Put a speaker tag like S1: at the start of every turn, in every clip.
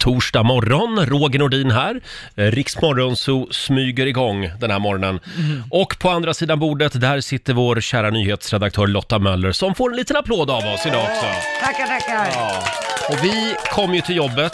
S1: torsdag morgon. Roger Nordin här. Eh, Riks Morgonzoo smyger igång den här morgonen.
S2: Mhm.
S1: Och på andra sidan bordet, där sitter vår kära nyhetsredaktör Lotta Möller som får en liten applåd av oss idag också.
S2: Tackar, tackar.
S1: Och vi kom ju till jobbet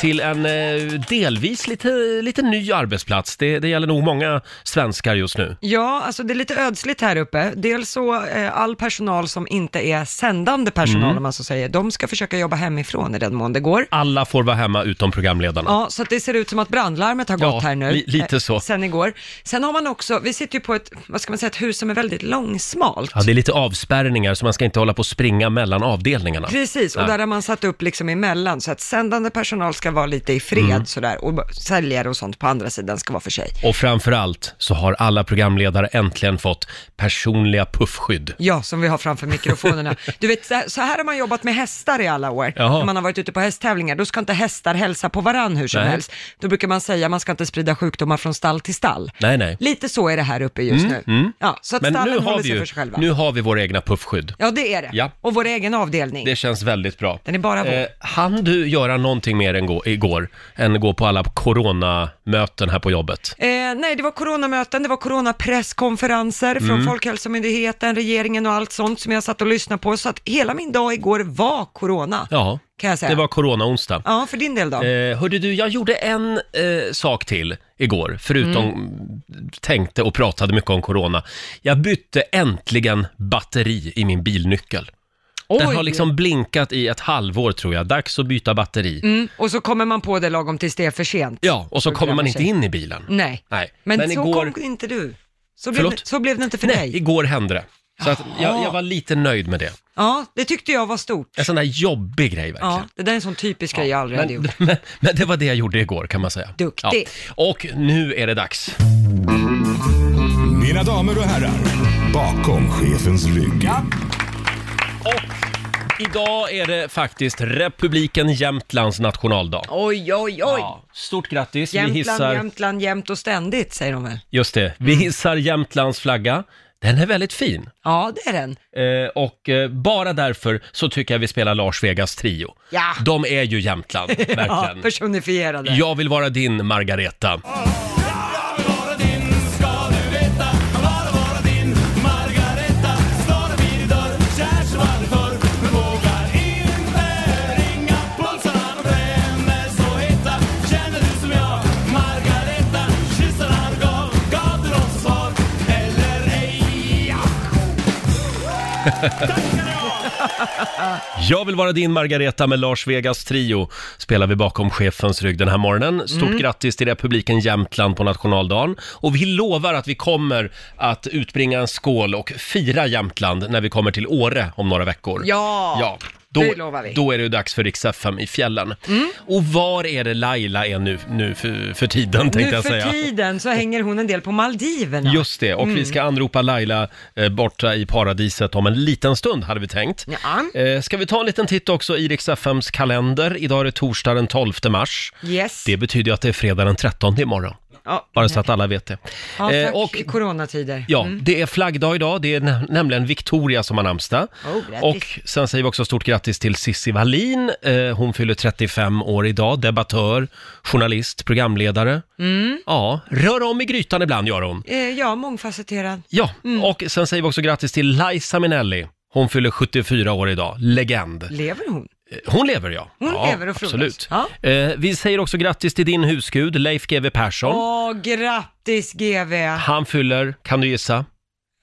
S1: till en eh, delvis lite, lite ny arbetsplats. Det, det gäller nog många svenskar just nu.
S2: Ja, alltså det är lite ödsligt här uppe. Dels så eh, all personal som inte är sändande personal,
S1: Mm.
S2: om man så säger, de ska försöka jobba hemifrån i den mån det går.
S1: Alla får vara hemma utom programledarna.
S2: Ja, så att det ser ut som att brandlarmet har
S1: Ja,
S2: gått här nu.
S1: li- lite
S2: eh,
S1: så.
S2: Sen igår. Sen har man också, vi sitter ju på ett, vad ska man säga, ett hus som är väldigt långsmalt.
S1: Ja, det är lite avspärrningar så man ska inte hålla på och springa mellan avdelningarna.
S2: Precis, och
S1: Nej.
S2: där har man satt upp liksom emellan, så att sändande personal ska vara lite i fred
S1: Mm.
S2: sådär, och säljare och sånt på andra sidan ska vara för sig.
S1: Och framförallt så har alla programledare äntligen fått personliga puffskydd.
S2: Ja, som vi har framför mikrofonerna. Du vet, så här- så här har man jobbat med hästar i alla år.
S1: Jaha.
S2: När man har varit ute på hästtävlingar, då ska inte hästar hälsa på varann hur som
S1: Nej.
S2: helst. Då brukar man säga, man ska inte sprida sjukdomar från stall till stall.
S1: Nej, nej.
S2: Lite så är det här uppe just
S1: Mm,
S2: nu.
S1: mm.
S2: Ja, så att
S1: Men
S2: stallen
S1: nu har,
S2: håller
S1: vi
S2: sig
S1: ju,
S2: för sig själva.
S1: nu har vi våra egna puffskydd.
S2: Ja, det är det.
S1: Ja.
S2: Och vår egen avdelning.
S1: Det känns väldigt bra. Eh,
S2: Den är bara vår.
S1: hann du göra någonting mer än gå, igår, än gå på alla coronamöten här på jobbet?
S2: Eh, nej, det var coronamöten, det var coronapresskonferenser från
S1: Mm.
S2: Folkhälsomyndigheten, regeringen och allt sånt som jag satt och lyssnade på. Så att hela min dag igår var corona,
S1: Ja,
S2: kan jag säga.
S1: det var corona-onsdag.
S2: Ja, för din del då?
S1: Eh, hörde du, jag gjorde en eh, sak till igår, förutom
S2: Mm.
S1: tänkte och pratade mycket om corona. Jag bytte äntligen batteri i min bilnyckel. Den
S2: Oj.
S1: har liksom blinkat i ett halvår tror jag. Dags att byta batteri.
S2: Mm, och så kommer man på det lagom tills det är för sent.
S1: Ja, och så
S2: Då
S1: kommer man
S2: glömmer
S1: inte
S2: sig.
S1: in i bilen.
S2: Nej,
S1: Nej.
S2: men, så kom inte du. Så blev,
S1: Förlåt?
S2: det, så blev det inte för
S1: Nej,
S2: dig.
S1: igår hände det. Så att jag,
S2: Jaha.
S1: jag var lite nöjd med det.
S2: Ja, det tyckte jag var stort.
S1: En sån där jobbig grej verkligen.
S2: Ja, det där är en sån typisk grej jag aldrig hade
S1: Men,
S2: gjort.
S1: men, men det var det jag gjorde igår kan man säga.
S2: Duktig.
S1: Ja. Och nu är det dags.
S3: Mina damer och herrar, bakom chefens rygg.
S1: Idag är det faktiskt Republiken Jämtlands nationaldag.
S2: Oj, oj, oj.
S1: Stort grattis. Vi
S2: Jämtland,
S1: hissar,
S2: Jämtland, jämt Mm. och ständigt, säger de väl?
S1: just det, vi hissar Jämtlands flagga. Den är väldigt fin.
S2: Ja, det är den.
S1: Eh, och eh, bara därför så tycker jag vi spelar Lars Vegas trio.
S2: Ja.
S1: De är ju Jämtland,
S2: Ah. ja,
S1: verkligen.
S2: personifierade.
S1: jag vill vara din Margareta. Jag vill vara din Margareta med Lars Vegas trio spelar vi bakom chefens rygg den här morgonen. Stort
S4: Mm.
S1: grattis till Republiken Jämtland på nationaldagen. Och vi lovar att vi kommer att utbringa en skål och fira Jämtland när vi kommer till Åre om några veckor.
S2: Ja,
S1: ja då,
S2: det lovar vi. Mm.
S1: Då är det ju dags för riks FM i fjällen. Och var är det Laila är nu, nu för, för tiden tänkte
S2: nu
S1: jag
S2: för
S1: säga.
S2: tiden så hänger hon en del på Maldiverna.
S1: Just det, och
S2: Mm.
S1: vi ska anropa Laila eh, borta i paradiset om en liten stund hade vi tänkt. Eh, ska vi ta en liten titt också i Rix FMs kalender? Idag är det torsdag den 12 mars.
S2: Yes.
S1: Det betyder ju att det är fredag den 13 imorgon.
S2: Ja.
S1: Bara så att alla vet det.
S2: Ja,
S1: Eh,
S2: tack. I coronatider.
S1: Ja,
S2: Mm.
S1: det är flaggdag idag. Det är nä- nämligen Victoria som har namnsdag.
S2: Oh, grattis.
S1: och sen säger vi också stort grattis till Cissi Wallin. Eh, hon fyller 35 år idag. Debattör, journalist, programledare.
S2: Mm.
S1: Ja, rör om i grytan ibland gör hon.
S2: Eh, ja, mångfacetterad.
S1: Ja,
S2: Mm.
S1: och sen säger vi också grattis till Liza Minnelli. Hon fyller 74 år idag. Legend.
S2: Lever hon?
S1: Hon lever ja.
S2: Hon
S1: ja,
S2: lever och frodas.
S1: Absolut.
S2: Ja.
S1: Eh, vi säger också grattis till din husgud, Leif GW Persson.
S2: Åh, grattis GV.
S1: Han fyller, kan du gissa?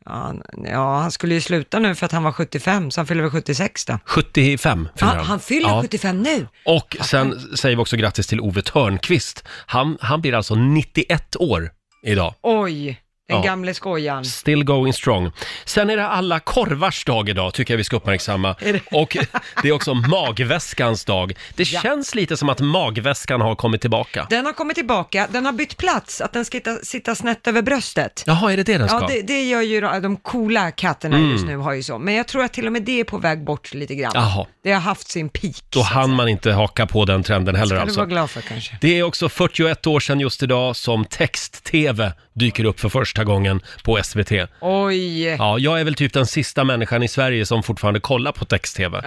S2: Ja, ja, han skulle ju sluta nu för att han var 75, så han fyller väl 76 då.
S1: 75 fyller
S2: Ah, han fyller
S1: Ja.
S2: 75 nu.
S1: Och sen säger vi också grattis till Ove Törnqvist. Han, han blir alltså 91 år idag.
S2: Oj, den
S1: Ja.
S2: gamle skojaren.
S1: Still going strong. Sen är det alla korvars dag idag, tycker jag vi ska uppmärksamma. Och det är också magväskans dag. Det
S2: Ja.
S1: känns lite som att magväskan har kommit tillbaka.
S2: Den har kommit tillbaka, den har bytt plats, att den ska sitta, sitta snett över bröstet.
S1: Jaha, är det det den ska?
S2: Ja, det, det gör ju de, de coola katterna
S1: Mm.
S2: just nu har ju så. Men jag tror att till och med det är på väg bort lite grann.
S1: Jaha.
S2: Det har haft sin peak.
S1: Då hann man inte haka på den trenden heller
S2: Ska du
S1: alltså.
S2: vara glad för kanske.
S1: Det är också 41 år sedan just idag som text-tv dyker upp för första gången på SVT.
S2: Eh. Oj! Ja.
S1: Ja, jag är väl typ den sista människan i Sverige som fortfarande kollar på text-tv.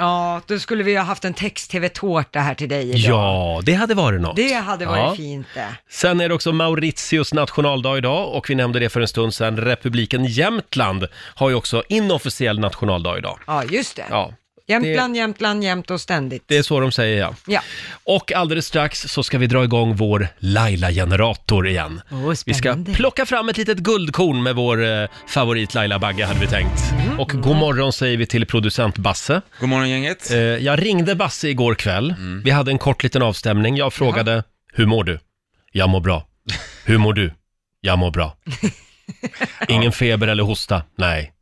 S2: då skulle vi ha haft en text-tv-tårta här till dig idag.
S1: Ja, det hade varit något.
S2: Det hade varit
S1: Ja.
S2: fint det.
S1: Sen är det också Mauritius nationaldag idag och vi nämnde det för en stund sedan. Republiken Jämtland har ju också inofficiell nationaldag idag.
S2: Ja, just det.
S1: Ja,
S2: Jämtland, Jämtland, jämt och ständigt.
S1: det är så de säger ja.
S2: Ja.
S1: Och alldeles strax så ska vi dra igång vår Laila-generator igen.
S2: Åh,
S1: Vi ska
S2: spännande.
S1: plocka fram ett litet guldkorn med vår eh, favorit Laila Bagge hade vi tänkt.
S2: Mm.
S1: Och god morgon säger vi till producent Basse.
S4: God morgon gänget. Mm.
S1: Eh, jag ringde Basse igår kväll. Vi hade en kort liten avstämning. Jag frågade, hur mår du? Jag mår bra. Hur mår du? Jag mår bra. Ingen feber eller hosta? Nej.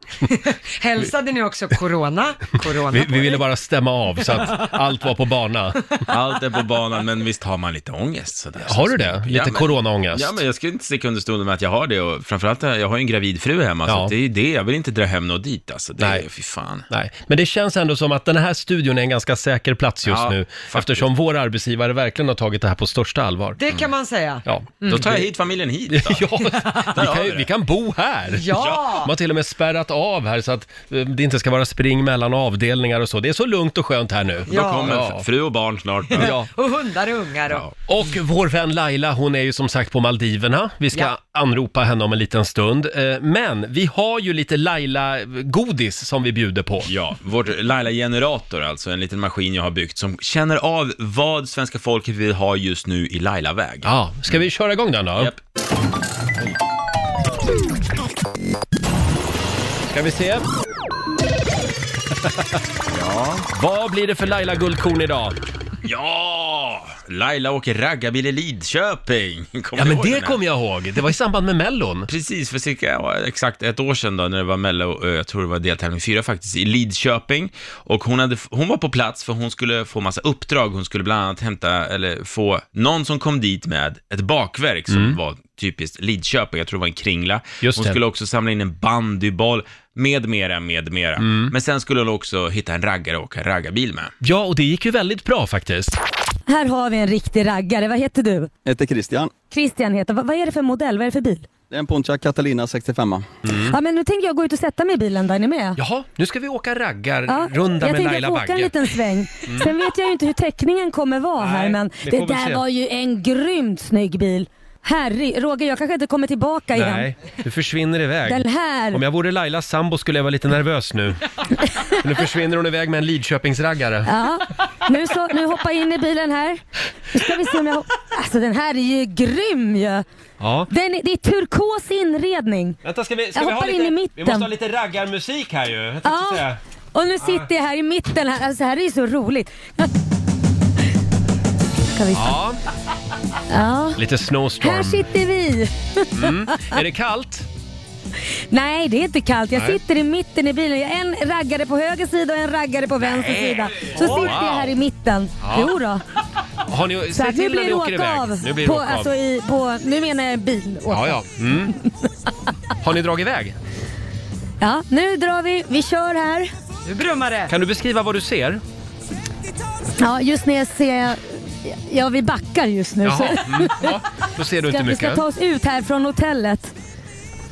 S2: Hälsade ni också corona? corona
S1: Vi, vi ville bara stämma av så att allt var på bana.
S4: Allt är på banan, men visst har man lite ångest sådär.
S1: Har du det? Lite
S4: men-
S1: coronaångest?
S4: Ja, men jag skulle inte sticka under stolen med att jag har det och framförallt, jag har ju en gravid fru hemma,
S1: Ja.
S4: så det är ju det, jag vill inte dra hem något dit alltså. Det
S1: Nej.
S4: är, fy fan.
S1: Nej, men det känns ändå som att den här studion är en ganska säker plats just
S4: Ja,
S1: nu.
S4: faktiskt.
S1: Eftersom vår arbetsgivare verkligen har tagit det här på största allvar. Mm.
S2: Det kan man säga.
S1: Ja,
S4: Då tar jag hit familjen hit då.
S1: ja vi, kan,
S4: har vi
S1: ju-
S4: det.
S1: vi kan bo här.
S2: Ja!
S1: De har till och med spärrat av här så att eh, det inte ska vara spring mellan avdelningar och så. Det är så lugnt och skönt här nu.
S4: Då
S2: Ja.
S4: kommer
S1: Ja.
S4: fru och barn snart.
S1: Ja.
S2: Och hundar och ungar och...
S4: Ja.
S1: Och vår vän Laila, hon är ju som sagt på Maldiverna. Vi ska
S2: Ja.
S1: anropa henne om en liten stund. Eh, Men vi har ju lite Laila-godis som vi bjuder på.
S4: Ja, vår Laila-generator alltså, en liten maskin jag har byggt som känner av vad svenska folket vill ha just nu i Laila-väg.
S1: Ja, ska vi köra igång den då?
S4: Japp.
S1: Ska vi se. Vad blir det för Laila Guldkorn idag?
S4: Ja! Laila åker raggarbil i Lidköping. Kommer
S1: Ja
S4: du
S1: men
S4: ihåg den
S1: det
S4: här?
S1: kommer jag ihåg. Det var i samband med Mellon.
S4: Precis, för cirka ja, exakt ett år sedan då, när det var Mello, eh, jag tror det var deltävling fyra faktiskt, i Lidköping. Och hon, hade, hon var på plats för hon skulle få massa uppdrag. Hon skulle bland annat hämta, eller få någon som kom dit med ett bakverk som var typiskt Lidköping, jag tror det var en kringla.
S1: Mm. Just
S4: hon
S1: det.
S4: skulle också samla in en bandyboll, med mera, med mera. Men sen skulle hon också hitta en raggare och åka raggarbil med.
S1: Mm. Ja, och det gick ju väldigt bra faktiskt.
S5: Här har vi en riktig raggare. Vad heter du?
S6: Jag heter Christian.
S5: Christian heter Vad vad är det för modell? Vad är det för bil?
S6: Det är en Pontiac Catalina 65.
S5: Ja, men nu tänker jag gå ut och sätta mig i bilen där. Är ni med?
S1: Mm. Jaha, nu ska vi åka
S5: Ja,
S1: raggar-runda
S5: jag
S1: med
S5: tänkte
S1: Laila
S5: jag får åka en
S1: Bagge. Mm.
S5: liten sväng. Sen vet jag ju inte hur teckningen kommer vara
S1: Nej,
S5: här men
S1: vi
S5: det,
S1: får väl
S5: där
S1: se.
S5: var ju en grymt snygg bil. Herre, Roger jag kanske inte kommer tillbaka igen.
S1: Nej, du försvinner iväg.
S5: Den här.
S1: Om jag vore Lailas sambo skulle jag vara lite nervös nu. Men nu försvinner hon iväg med en Lidköpingsraggare.
S5: Ja, nu, så, nu hoppa in i bilen här. Nu ska vi se om jag... Alltså den här är ju grym ju.
S1: Ja.
S5: Den, är- det är turkos inredning.
S1: Vänta, ska vi,
S5: Jag vi ha hoppar in lite- i mitten. vi måste ha
S1: lite raggarmusik här ju. Jag
S5: Ja, och nu sitter jag här i mitten här. Alltså det här är ju så roligt. Ska vi se.
S1: Ja.
S5: Ja.
S1: Lite
S5: Här
S1: snowstorm.
S5: sitter vi.
S1: Mm. Är det kallt?
S5: Nej, det är inte kallt. Jag
S1: Nej.
S5: sitter i mitten i bilen. Jag har en raggare på höger sida och en raggare på vänster sida. Så
S1: Wow.
S5: sitter jag här i mitten. Jo då.
S1: Har ni,
S5: Så
S1: säg
S5: att
S1: till
S5: nu
S1: när
S5: blir
S1: ni
S5: det
S1: åker
S5: åka
S1: iväg.
S5: av.
S1: Nu blir det
S5: på,
S1: åka
S5: alltså
S1: av.
S5: i, på, nu menar jag bil. Åka.
S1: Ja, ja. Mm. Har ni dragit iväg?
S5: ja, nu drar vi. Vi kör här.
S2: Nu brummar det.
S1: Kan du beskriva vad du ser?
S5: Ja, just nu ser jag... Ja, vi backar just nu. Så
S1: Jaha, mm. ja, då ser du
S5: ska,
S1: inte
S5: vi ska
S1: mycket.
S5: ta oss ut här från hotellet.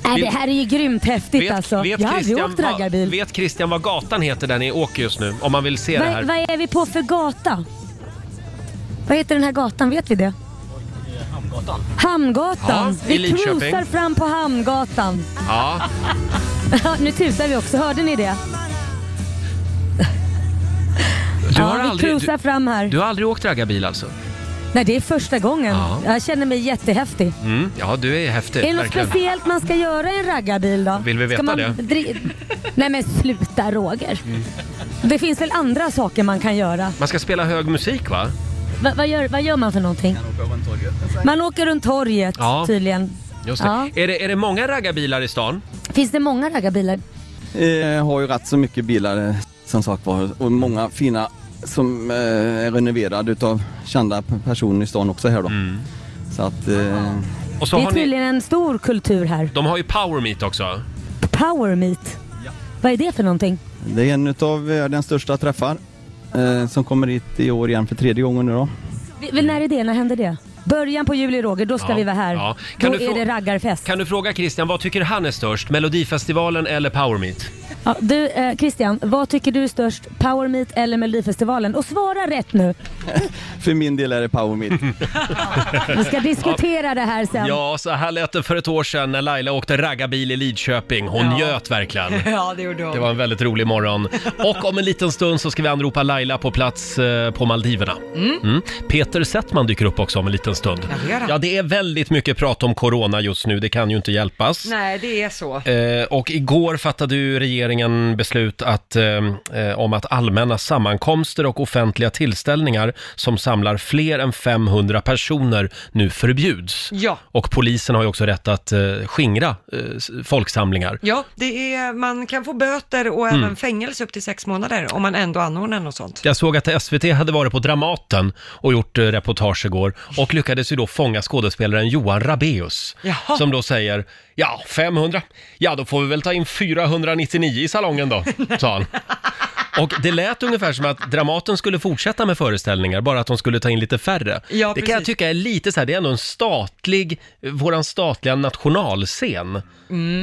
S5: Nej,
S1: Vet-
S5: det här är ju grymt häftigt alltså. ja, vi har åkt
S1: vad,
S5: raggarbil.
S1: vet Christian vad gatan heter där ni åker just nu? Om man vill se det
S5: Vad,
S1: här.
S5: vad är vi på för gata? Vad heter den här gatan? Vet vi det? Hamngatan. Hamngatan.
S1: Ja, i
S5: vi
S1: Lidköping.
S5: cruisar fram på Hamngatan.
S1: Ja.
S5: nu tutar vi också, hörde ni det?
S1: Du,
S5: ja,
S1: har
S5: vi
S1: aldrig,
S5: cruisar
S1: du,
S5: fram här.
S1: du har aldrig åkt raggarbil alltså?
S5: Nej, det är första gången.
S1: Ja.
S5: Jag känner mig jättehäftig.
S1: Mm. Ja, du är häftig.
S5: Är det något
S1: verkligen.
S5: speciellt man ska göra i en raggarbil då?
S1: Vill vi veta
S5: ska man
S1: det?
S5: dri- Nej men sluta Roger. Det finns väl andra saker man kan göra?
S1: Mm. Man ska spela hög musik va?
S5: Va- vad, gör, vad gör man för någonting? Man åker runt torget
S1: Ja.
S5: tydligen.
S1: Just det.
S5: Ja.
S1: Är, det är det många raggarbilar i stan?
S5: Finns det många raggarbilar?
S6: Eh, har ju rätt så mycket bilar eh, som sagt var och många fina som eh, är renoverade utav kända p- personer i stan också här då. Så att eh,
S1: Mm. Och så
S5: det är
S1: har ni,
S5: tydligen en stor kultur här.
S1: de har ju power meet också.
S5: Power meet. Vad är det för någonting?
S6: det är en utav världens största träffar eh, som kommer hit i år igen för tredje gången nu då.
S5: Vi- vi- när är det? När händer det? Början på juli Roger, då ska
S1: Ja,
S5: vi vara här.
S1: ja. Kan
S5: då
S1: du
S5: är
S1: få-
S5: det raggarfest.
S1: Kan du fråga Christian, vad tycker han är störst? Melodifestivalen eller Power Meet?
S5: Ja, du eh, Christian, vad tycker du är störst? Power Meet eller Melodifestivalen? Och svara rätt nu.
S6: För min del är det Power Meet.
S5: Vi ska diskutera det här sen.
S1: Ja, så här lät det för ett år sedan när Laila åkte raggarbil i Lidköping. Hon
S2: Ja.
S1: njöt verkligen.
S2: Ja, det gjorde hon.
S1: Det var en väldigt rolig morgon. Och om en liten stund så ska vi anropa Laila på plats eh, på Maldiverna. Mm. Peter Settman dyker upp också om en liten stund.
S2: Ja, det gör han.
S1: Ja, det är väldigt mycket prat om corona just nu. Det kan ju inte hjälpas.
S2: Nej, det är så.
S1: Eh, och igår fattade ju regeringen beslut att, eh, eh, om att allmänna sammankomster och offentliga tillställningar som samlar fler än 500 personer nu förbjuds.
S2: Ja.
S1: Och polisen har ju också rätt att eh, skingra eh, s- folksamlingar.
S2: Ja, det är, man kan få böter och
S1: Mm.
S2: även fängelse upp till sex månader om man ändå anordnar något sånt.
S1: Jag såg att SVT hade varit på Dramaten och gjort eh, reportage igår och lyckades ju då fånga skådespelaren Johan Rabaeus
S2: Jaha.
S1: som då säger ja, 500, ja då får vi väl ta in 499 i salongen då, sa han. Och det lät ungefär som att Dramaten skulle fortsätta med föreställningar, bara att de skulle ta in lite färre.
S2: Ja,
S1: det kan jag
S2: precis.
S1: tycka är lite så här, det är ändå en statlig, eh, våran statliga nationalscen.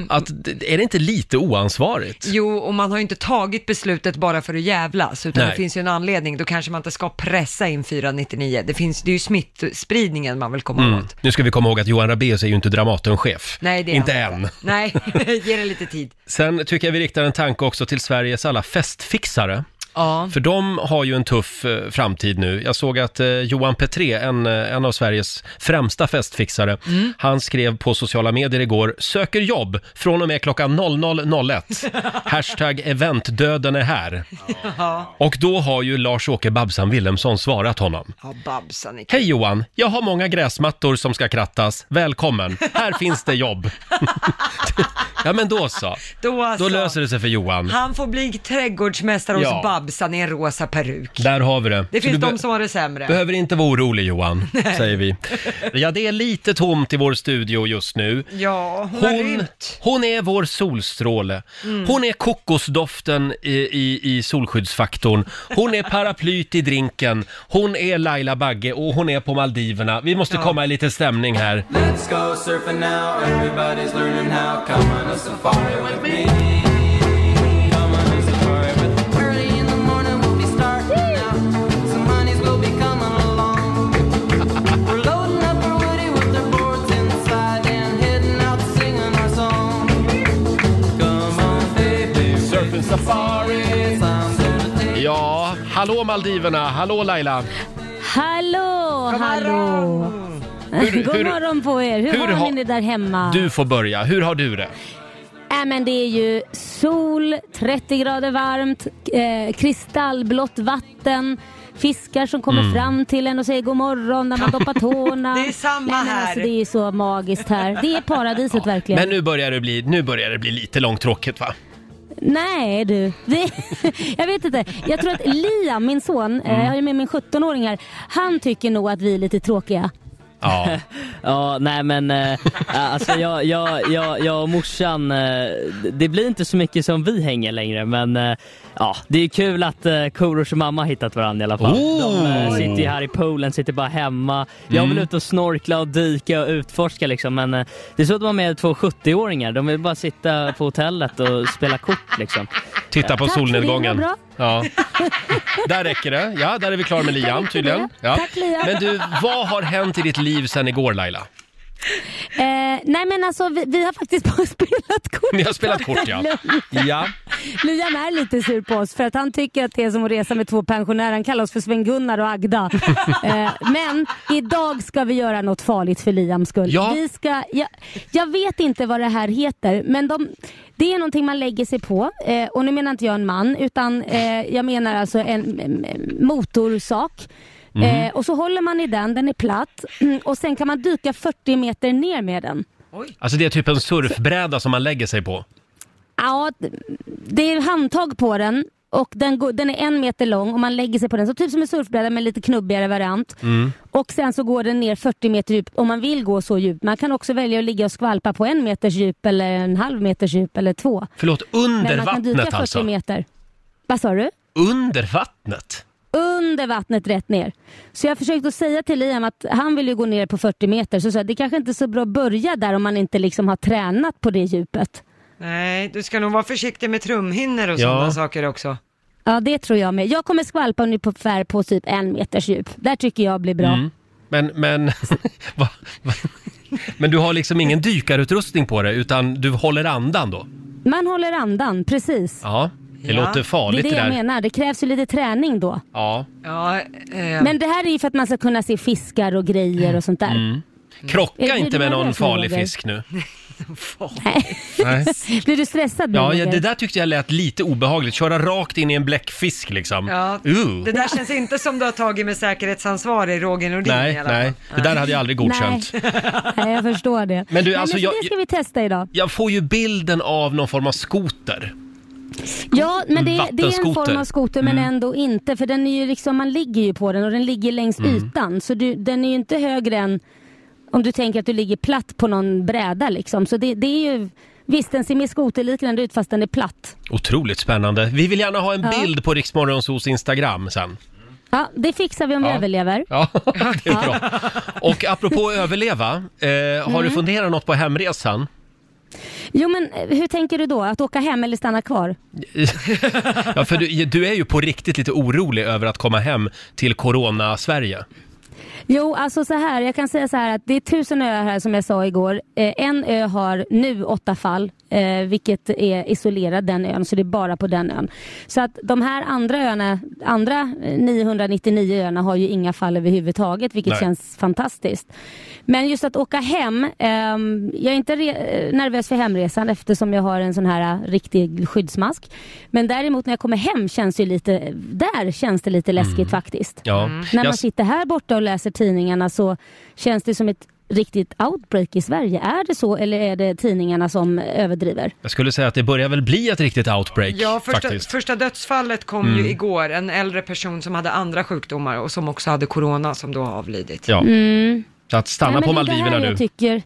S1: Att, d- är det inte lite oansvarigt?
S2: Mm. Jo, och man har ju inte tagit beslutet bara för att jävlas, utan
S1: Nej.
S2: det finns ju en anledning. Då kanske man inte ska pressa in 499. Det, finns, det är ju smittspridningen man vill komma åt.
S1: Mm. Nu ska vi komma ihåg att Johan Rabaeus är ju inte Dramatenchef.
S2: Nej, det alltså. är
S1: inte
S2: han
S1: än.
S2: Nej, ge det lite tid.
S1: Sen tycker jag vi riktar en tanke också till Sveriges alla festfixare.
S2: Ja.
S1: För de har ju en tuff eh, framtid nu. Jag såg att eh, Johan Petré, en, eh, en av Sveriges främsta festfixare,
S2: Mm.
S1: han skrev på sociala medier igår, söker jobb från och med klockan 00.01. Hashtag eventdöden är här. Och då har ju Lars-Åke Babsan Willemsson svarat honom.
S2: Ja, Babsan. i-
S1: Hej Johan, jag har många gräsmattor som ska krattas. Välkommen, här finns det jobb. ja men då så.
S2: Då, alltså,
S1: Då löser det sig för Johan.
S2: Han får bli trädgårdsmästare
S1: Ja.
S2: hos Babsan i en rosa peruk.
S1: Där har vi det.
S2: Det
S1: Så du
S2: finns
S1: be-
S2: de som har det sämre.
S1: behöver inte vara orolig Johan, säger vi. Ja, det är lite tomt i vår studio just nu.
S2: Ja, hon, har
S1: Hon,
S2: rymt. Mm.
S1: hon är vår solstråle. Hon är kokosdoften i, i, i solskyddsfaktorn. Hon är paraplyt i drinken. Hon är Laila Bagge och hon är på Maldiverna. Vi måste komma i lite stämning här.
S7: Let's go surfing now, everybody's learning how. Come on a safari with me. Come on a safari with me. Early in the morning, we'll be starting out. Some honeys will be coming along. We're loading up our woody with our boards inside and heading out singing our song. Come on, baby. Surfing safari. Time to take
S1: Ja, hallå Maldiverna, hallå Laila.
S5: Hallå, hallå!
S1: Hur-
S5: God
S1: hur-
S5: morgon på er! Hur,
S1: hur
S5: har
S1: har-
S5: ni det där hemma?
S1: Du får börja, hur har du det?
S5: Äh, men det är ju sol, 30 grader varmt, eh, kristallblått vatten, fiskar som kommer fram till en och säger god morgon när man doppar tårna.
S2: Mm. Det är samma
S5: Nej, men
S2: här.
S5: Alltså, det är ju så magiskt här. Det är paradiset verkligen.
S1: Men nu börjar det bli, nu börjar det bli lite långtråkigt va?
S5: Nej du, det, jag vet inte. Jag tror att Liam, min son,
S2: Mm.
S5: eh, jag har ju med min 17-åring här, han tycker nog att vi är lite tråkiga.
S1: Ja.
S8: Ja, nej men eh, alltså jag, jag, jag, jag och morsan, eh, det blir inte så mycket som vi hänger längre men eh, ja, det är kul att eh, Korosh och mamma har hittat varandra i alla fall. De eh,
S1: Oh. Mm.
S8: sitter ju här i poolen, sitter bara hemma. Jag vill ut och snorkla och dyka och utforska liksom men eh, det är så att man är med två 70-åringar, de vill bara sitta på hotellet och spela kort liksom.
S1: Titta på
S5: Tack för det,
S1: solnedgången.
S5: vad bra.
S1: Ja. Där räcker det. Ja, där är vi klara med Liam tydligen. Ja.
S5: Tack, Liam.
S1: Men du, vad har hänt i ditt liv sedan igår Laila?
S5: Eh, nej men alltså vi, vi har faktiskt bara spelat kort.
S1: Ni har spelat kort ja. Ja.
S5: Liam är lite sur på oss för att han tycker att det är som att resa med två pensionärer. Han kallar oss för Sven-Gunnar och Agda. eh, men idag ska vi göra något farligt för Liams skull.
S1: Ja.
S5: Vi ska, jag, jag vet inte vad det här heter men de, det är någonting man lägger sig på. Eh, och nu menar inte jag en man utan eh, jag menar alltså en em, em, motorsak. Eh, och så håller man i den, den är platt och sen kan man dyka 40 meter ner med den.
S1: Alltså det är typ en surfbräda som man lägger sig på.
S5: Ja, det är handtag på den och den, går, den är en meter lång och man lägger sig på den. Så typ som en surfbräda men lite knubbigare variant.
S1: Mm.
S5: Och sen så går den ner 40 meter djupt om man vill gå så djupt. Man kan också välja att ligga och skvalpa på en meters djup eller en halv meters djup eller två.
S1: Förlåt,
S5: Men
S1: under
S5: man kan dyka
S1: vattnet
S5: 40
S1: alltså?
S5: meter. Vad sa du?
S1: Under vattnet?
S5: under vattnet rätt ner. Så jag försökte att säga till Liam att han vill ju gå ner på 40 meter, så, så det kanske inte är så bra att börja där om man inte liksom har tränat på det djupet.
S2: Nej, du ska nog vara försiktig med trumhinnor och
S1: Ja.
S2: sådana saker också.
S5: Ja, det tror jag med. Jag kommer skvalpa ungefär på typ en meters djup. Där tycker jag blir bra.
S1: Mm. Men, men, va, va, men du har liksom ingen dykarutrustning på dig utan du håller andan då?
S5: Man håller andan, precis.
S1: Ja, det
S2: Ja.
S1: låter
S5: det är
S1: farligt
S5: det
S1: det,
S5: jag
S1: där.
S5: menar. Det krävs ju lite träning då.
S1: Ja.
S2: Ja, eh,
S5: Men det här är ju för att man ska kunna se fiskar och grejer och sånt där. Är
S1: Mm. Krocka
S5: det
S1: inte med
S5: dina
S1: någon
S5: räknor,
S1: farlig
S5: Roger?
S1: fisk nu.
S5: Nej.
S1: Nej.
S5: Blir du stressad nu
S1: Ja, ja,
S5: Roger?
S1: det där tyckte jag lät lite obehagligt. Köra rakt in i en bläckfisk liksom.
S2: ja,
S1: Uh.
S2: det där känns inte som du har tagit med säkerhetsansvarig Roger Nordin i
S1: Nej,
S2: alla fall.
S1: nej, det där hade jag aldrig godkänt.
S5: Nej, jag förstår det.
S1: Men du,
S5: Nej,
S1: alltså,
S5: så
S1: jag-
S5: det ska vi testa idag.
S1: Jag får ju bilden av någon form av skoter.
S5: Ja, men det, det är en
S1: Vattenskoter. Mm.
S5: form av skoter men ändå inte. För den är ju liksom, man ligger ju på den och den ligger längs
S1: Mm.
S5: ytan. Så du, den är ju inte högre än om du tänker att du ligger platt på någon bräda liksom. Så det, det är ju, visst den ser mer skoterliknande ut fast den är platt.
S1: Otroligt spännande. Vi vill gärna ha en
S5: Ja.
S1: bild på Riksmorgonsos Instagram sen.
S5: Ja, det fixar vi om
S1: Ja.
S5: vi överlever.
S1: Ja, det är bra. Och apropå att överleva, eh, har
S5: Mm.
S1: du funderat något på hemresan?
S5: Jo men eh, hur tänker du då? Att åka hem eller stanna kvar?
S1: Ja, för du, du är ju på riktigt lite orolig över att komma hem till Corona-Sverige.
S5: Jo, alltså så här, jag kan säga så här att det är tusen öar här som jag sa igår. Eh, en ö har nu åtta fall, eh, vilket är isolerad den ön, så det är bara på den ön. Så att de här andra öarna, andra eh, 999 öarna har ju inga fall överhuvudtaget, vilket
S1: Nej.
S5: känns fantastiskt. Men just att åka hem, ehm, jag är inte re- eh, nervös för hemresan eftersom jag har en sån här eh, riktig skyddsmask. Men däremot när jag kommer hem känns det ju lite, där känns det lite läskigt faktiskt.
S1: Ja. Mm.
S5: När
S1: Jag
S5: man
S1: s-
S5: sitter här borta och läser tidningarna så känns det som ett riktigt outbreak i Sverige. Är det så eller är det tidningarna som överdriver?
S1: Jag skulle säga att det börjar väl bli ett riktigt outbreak
S2: Ja, första,
S1: faktiskt. Mm.
S2: första dödsfallet kom ju igår. En äldre person som hade andra sjukdomar och som också hade corona som då har avlidit.
S1: Ja.
S5: Mm.
S1: Så att stanna
S5: Nej, men
S1: på
S5: det är det här
S1: Maldiverna
S5: jag
S1: du.
S5: Tycker,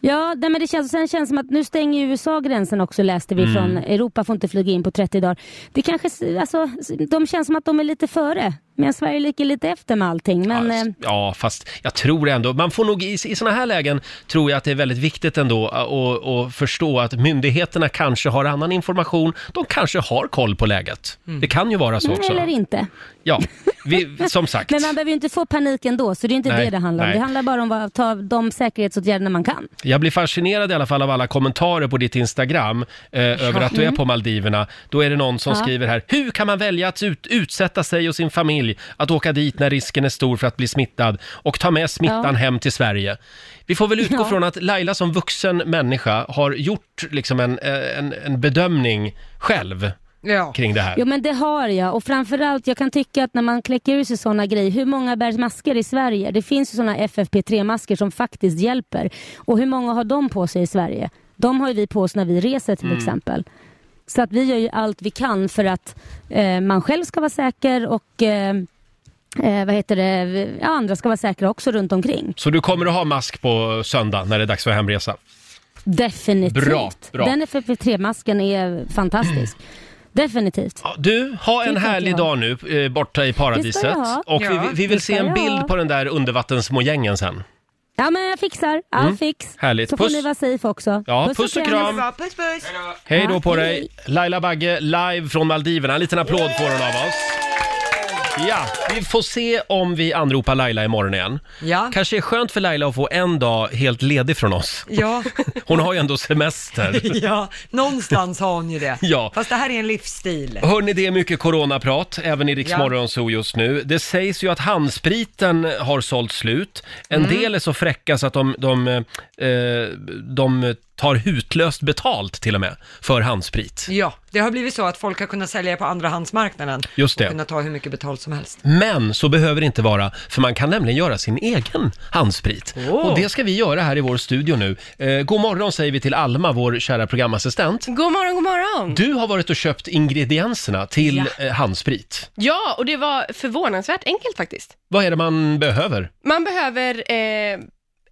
S5: ja, nej, men det känns, sen känns det som att nu stänger ju USA gränsen också läste
S1: Mm.
S5: vi från Europa får inte flyga in på 30 dagar. Det kanske, alltså, de känns som att de är lite före medan Sverige ligger lite efter med allting. Men,
S1: Ja,
S5: eh,
S1: s- ja, fast jag tror ändå, man får nog i, i sådana här lägen tror jag att det är väldigt viktigt ändå att- att att förstå att myndigheterna kanske har annan information. De kanske har koll på läget. Det kan ju vara så också.
S5: eh, eller inte.
S1: Ja, vi, som sagt.
S5: Men man behöver ju inte få panik ändå så det är inte
S1: Nej,
S5: det det handlar om.
S1: nej.
S5: Det handlar bara om att ta de säkerhetsåtgärderna man kan.
S1: Jag blir fascinerad i alla fall av alla kommentarer på ditt Instagram eh, över att du är på Maldiverna. Då är det någon som
S5: Mm. Ja.
S1: skriver här, hur kan man välja att ut, utsätta sig och sin familj att åka dit när risken är stor för att bli smittad och ta med smittan
S5: Ja.
S1: hem till Sverige? Vi får väl utgå
S5: Ja.
S1: från att Laila som vuxen människa har gjort liksom en, eh, en, en bedömning själv
S2: Ja.
S1: kring det här.
S5: Jo men det har jag och framförallt jag kan tycka att när man kläcker ur sig sådana grejer, hur många bär masker i Sverige? Det finns ju sådana FFP3-masker som faktiskt hjälper. Och hur många har de på sig i Sverige? De har ju vi på oss när vi reser
S1: Mm.
S5: till exempel. Så att vi gör ju allt vi kan för att eh, man själv ska vara säker och eh, eh, vad heter det, ja, andra ska vara säkra också runt omkring.
S1: Så du kommer att ha mask på söndag när det är dags för hemresa?
S5: Definitivt.
S1: Bra, bra.
S5: Den FFP3-masken är fantastisk. Definitivt.
S1: Ja, Du, ha en
S5: tänker
S1: härlig
S5: jag.
S1: dag nu eh, borta i
S5: Det
S1: paradiset.
S5: ska jag ha.
S1: Och vi,
S2: Ja,
S1: vi vill
S5: det
S1: se
S5: ska
S1: en
S5: jag
S1: bild
S5: ha.
S1: på den där undervattensmojängen sen.
S5: Ja men jag fixar, all fix.
S1: Mm. Härligt.
S5: Så får
S1: Puss.
S5: ni vara safe också.
S1: Ja, puss och kram.
S2: Bra, puss puss!
S1: Hej då
S5: Ja,
S1: på
S5: hej.
S1: dig! Laila Bagge, live från Maldiverna. En liten applåd får hon av oss. Ja, vi får se om vi anropar Laila imorgon igen.
S2: Ja.
S1: Kanske är skönt för Laila att få en dag helt ledig från oss.
S2: Ja.
S1: Hon har ju ändå semester.
S2: ja, någonstans har hon ju det.
S1: Ja.
S2: Fast det här är en livsstil.
S1: Hörni, det är mycket coronaprat, även i Rix
S2: Ja.
S1: Morgonzoo just nu. Det sägs ju att handspriten har sålt slut. En
S9: Mm.
S1: del är så fräcka så att de, de, eh, de tar hutlöst betalt till och med för handsprit.
S2: Ja, det har blivit så att folk har kunnat sälja på andrahandsmarknaden
S1: Just det.
S2: och kunnat ta hur mycket betalt som helst.
S1: Men så behöver det inte vara, för man kan nämligen göra sin egen handsprit. Och det ska vi göra här i vår studio nu. Eh, god morgon säger vi till Alma, vår kära programassistent.
S9: God morgon, god morgon.
S1: Du har varit och köpt ingredienserna till
S9: Ja.
S1: eh, handsprit.
S9: Ja, och det var förvånansvärt enkelt faktiskt.
S1: Vad är det man behöver?
S9: Man behöver eh,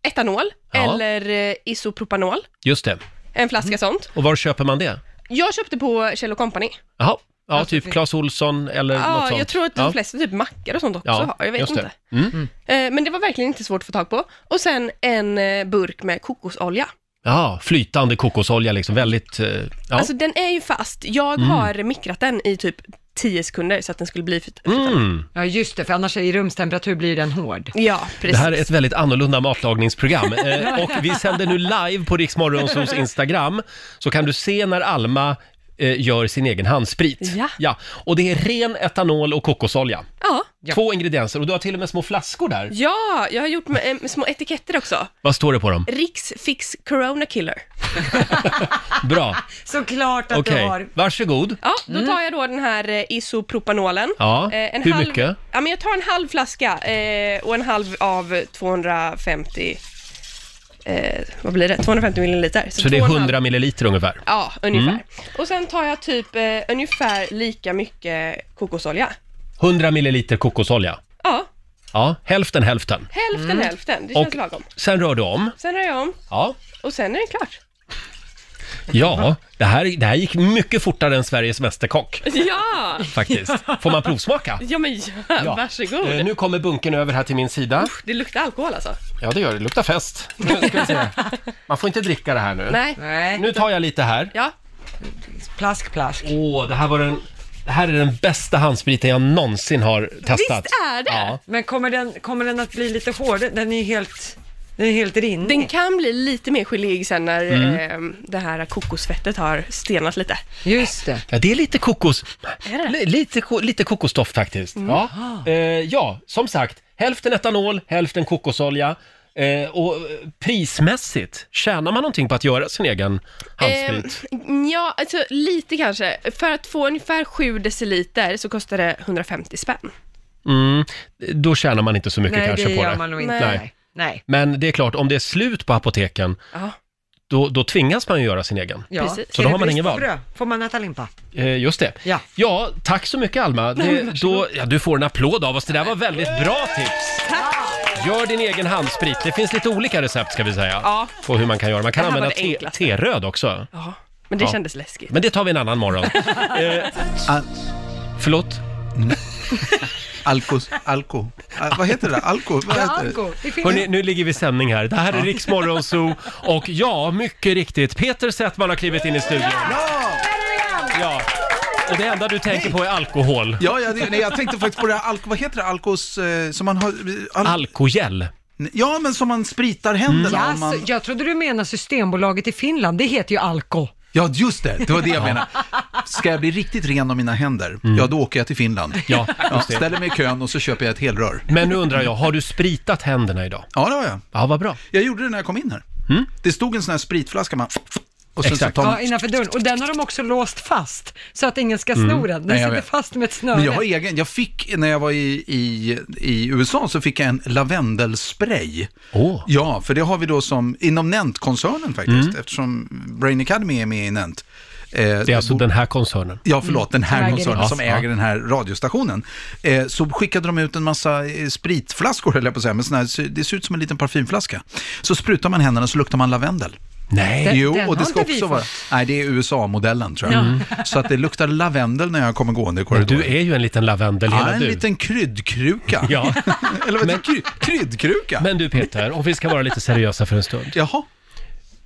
S9: etanol
S1: Ja. Mm.
S9: eller eh, isopropanol,
S1: Just det.
S9: en flaska sånt.
S1: Och var köper man det?
S9: Jag köpte på Kjell Company.
S1: Jaha, Ja, typ Clas Olsson eller något
S9: Alltså, Ja,
S1: sånt.
S9: jag tror att de
S1: Ja.
S9: flesta typ mackar och sånt också
S1: Ja,
S9: har, jag vet
S1: just det. Mm.
S9: inte. Eh, Men det var verkligen inte svårt att få tag på. Och sen en eh, burk med kokosolja.
S1: Ja, flytande kokosolja liksom, väldigt... eh, Ja. Mm.
S9: Alltså den är ju fast. Jag har mikrat den i typ 10 sekunder så att den skulle bli flyt- flytande.
S1: mm.
S2: Ja, just det, för annars i rumstemperatur blir den hård.
S9: Ja,
S1: Det
S9: precis.
S1: här är ett väldigt annorlunda matlagningsprogram. Eh, och vi sänder nu live på Riksmorgonsos Instagram, så kan du se när Alma eh, gör sin egen handsprit.
S9: Ja.
S1: Och det är ren etanol och kokosolja.
S9: Ja.
S1: Två ingredienser och du har till och med små flaskor där.
S9: ja, jag har gjort med, eh, små etiketter också.
S1: Vad står det på dem?
S9: Riks Fix Corona Killer.
S1: Bra,
S2: Såklart att
S1: okej.
S2: du har. Mm.
S1: Varsågod.
S9: Ja, då tar jag då den här eh, isopropanolen.
S1: Ja,
S9: Eh,
S1: hur
S9: halv,
S1: mycket?
S9: Ja, men jag tar en halv flaska eh, och en halv av 250, eh, vad blir det? 250 milliliter.
S1: Så det
S9: två
S1: är
S9: och en halv-
S1: 100 milliliter ungefär. Mm.
S9: Ja, ungefär. Och sen tar jag typ eh, ungefär lika mycket kokosolja.
S1: 100 milliliter kokosolja.
S9: Ja,
S1: Ja, hälften hälften.
S9: hälften hälften. Det känns
S1: Mm. Och
S9: lagom.
S1: sen rör du om.
S9: Sen rör jag om
S1: Ja,
S9: och sen är det klart.
S1: ja det, här, det här gick mycket fortare än Sveriges Mästerkock
S9: Ja!
S1: faktiskt. Får man provsmaka?
S9: Ja men ja,
S1: Ja.
S9: varsågod.
S1: Eh, nu kommer bunken över här till min sida.
S9: Det luktar alkohol alltså.
S1: Ja, det gör det. Luktar fest. Nu ska vi se. Man får inte dricka det här nu.
S9: Nej.
S2: Nej,
S1: Nu tar jag lite här.
S9: Ja.
S2: plask, plask.
S1: Åh, det här var den... Det här är den bästa handspriten jag någonsin har testat.
S9: Visst är det?
S1: Ja.
S2: Men kommer den, kommer den att bli lite hård? Den är ju helt, den är helt rinnig.
S9: Den kan bli lite mer geléig sen när
S1: Mm.
S9: eh, det här kokosfettet har stelnat lite.
S2: Just det.
S1: Ja, det är lite kokos... li- Lite, ko- lite kokosdoft faktiskt.
S2: Mm.
S1: Ja. Eh, ja, som sagt, hälften etanol, hälften kokosolja. Eh, och eh, prismässigt, tjänar man någonting på att göra sin egen handsprit?
S9: Eh, ja, alltså lite kanske. För att få ungefär 7 deciliter så kostar det 150 spänn.
S1: Mm, då tjänar man inte så mycket
S2: Ehm. Nej,
S1: kanske
S2: det
S1: på
S2: gör
S1: det.
S2: man nog inte.
S9: Nej.
S2: Nej. Nej.
S1: Men det är klart, om det är slut på apoteken,
S9: Ja.
S1: då, då tvingas man ju göra sin egen.
S2: Ja.
S9: Precis.
S1: Så
S2: Är
S1: då
S2: det
S1: har man
S2: brist
S1: ingen
S2: på
S1: val.
S2: bröd? Får man äta limpa?
S1: Eh, just det.
S2: Ja.
S1: ja, tack så mycket Alma. Det, då, ja, du får en applåd av oss. Det där var väldigt bra tips. Gör din egen handsprit. Det finns lite olika recept ska vi säga.
S9: Ja.
S1: På hur man kan göra. Man kan
S9: Det här var
S1: använda
S9: det
S1: te,
S9: enklaste.
S1: teröd också.
S9: Ja, men det
S1: Ja.
S9: kändes läskigt.
S1: Men det tar vi en annan morgon. eh,
S10: Al-
S1: förlåt?
S10: Alkos, alko. Al- vad heter det? där? Alko? Vad heter det?
S2: Anko, det finns-
S1: Hörrni, nu ligger vi i sändning här. Det här är Rix Morgon Zoo och ja, mycket riktigt, Peter Settman har klivit in i studion.
S10: Ja!
S1: Ja. Och det enda du tänker på är alkohol.
S10: Ja, ja det, nej, jag tänkte faktiskt på det här alko, vad heter det? Alkos, eh, som man har... Al,
S1: Alkogel. Mm.
S10: ja, men som man spritar händerna
S2: Ja,
S10: om man...
S2: så- jag trodde du menade Systembolaget i Finland, det heter ju Alko.
S10: Ja, just det, det var det jag menade. Ska jag bli riktigt ren om mina händer, ja då åker jag till Finland.
S1: Mm. Ja,
S10: Ja, ställer mig i kön och så köper jag ett helrör.
S1: Men nu undrar jag, har du spritat händerna idag?
S10: Ja, det har jag.
S1: Ja, vad bra. Mm.
S10: Jag gjorde det när jag kom in här. Det stod en sån här spritflaska man... Och sen så
S1: Exakt.
S10: tar man...
S2: Ja, innanför dörren. Och den har de också låst fast, så att ingen ska sno den. Den
S10: Nej, jag
S2: sitter
S10: vet.
S2: fast med ett snöre.
S10: Men jag har egen, jag fick, när jag var i, i, i USA så fick jag en lavendelspray.
S1: Åh. Mm.
S10: Ja, för det har vi då som, inom Nent-koncernen faktiskt, eftersom Brain Academy är med i Nent. Eh,
S1: Det är alltså den här koncernen.
S10: Ja, förlåt, den här
S2: äger
S10: koncernen
S1: det.
S10: som
S1: Ja,
S10: äger den här radiostationen. Eh, så skickade de ut en massa eh, spritflaskor, höll jag på att säga, men sån här, det ser ut som en liten parfymflaska. Så sprutar man händerna så luktar man lavendel.
S1: Nej.
S2: Den-
S10: jo,
S2: den
S10: och
S2: har
S10: det ska
S2: inte vi
S10: också vara...
S2: fått.
S10: Nej, det är USA-modellen tror jag. Så att det luktar lavendel när jag kommer gående i korridoren.
S1: Du är ju en liten lavendel,
S10: Ja,
S1: hela
S10: en
S1: du.
S10: liten kryddkruka.
S1: Ja.
S10: Eller vad heter det? Kry- kryddkruka?
S1: Men du Peter, om vi ska vara lite seriösa för en stund.
S10: Jaha.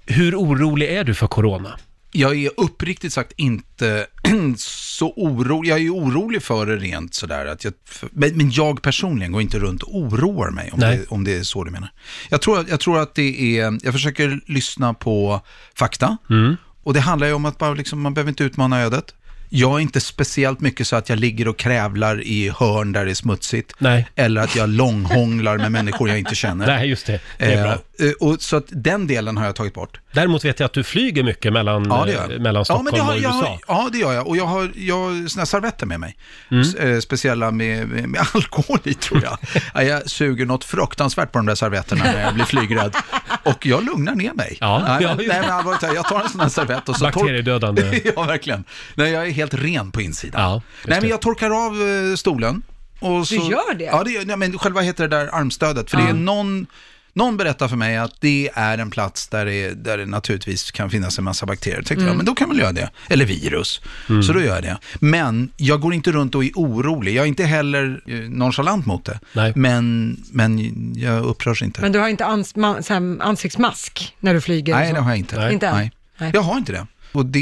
S1: Hur orolig är du för corona?
S10: Jag är uppriktigt sagt inte så orolig. Jag är ju orolig för det rent sådär. Att jag, för, men, men jag personligen går inte runt och oroar mig om,
S1: Nej.
S10: det, om det är så du menar. Jag tror, att- jag tror att det är, jag försöker lyssna på fakta.
S1: Mm.
S10: Och det handlar ju om att bara liksom, man behöver inte utmana ödet. Jag är inte speciellt mycket så att jag ligger och krävlar i hörn där det är smutsigt.
S1: Nej.
S10: Eller att jag långhånglar med människor jag inte känner.
S1: Nej, just det. Det är bra.
S10: Eh, eh, och, så att den delen har jag tagit bort.
S1: Däremot vet jag att du flyger mycket mellan,
S10: Ja, det gör
S1: eh,
S10: jag.
S1: mellan Stockholm
S10: det har,
S1: och
S10: jag
S1: USA.
S10: har, ja, det gör jag. Och jag har, jag har såna här servetter med mig.
S1: Mm.
S10: S- eh, speciella med, med, med alkohol i, tror jag. ja, jag suger något fruktansvärt på de där servetterna när jag blir flygrädd. Och jag lugnar ner mig.
S1: Ja,
S10: nej,
S1: ja.
S10: nej, men allvarligt, talat, jag tar en sån här servett och så... tork-
S1: Bakteriedödande.
S10: ja, verkligen. Nej, jag är helt ren på insidan.
S1: Ja, just
S10: nej,
S1: det.
S10: men jag torkar av eh, stolen. Och så,
S2: gör det?
S10: Ja, det, gör- nej, men själva heter det där armstödet. För det är någon... Någon berättar för mig att det är en plats där det, där det naturligtvis kan finnas en massa bakterier. Tänkte jag,
S4: Mm.
S10: men då kan väl jag det. Eller virus.
S4: Mm.
S10: Så då gör jag det. Men jag går inte runt och är orolig. Jag är inte heller eh, nonchalant mot det. Men, men jag upprörs inte.
S2: Men du har inte ans- ma- så här ansiktsmask när du flyger? och
S10: Nej,
S2: så?
S10: det har jag inte.
S2: Inte än?
S10: Nej. Jag har inte det. Och det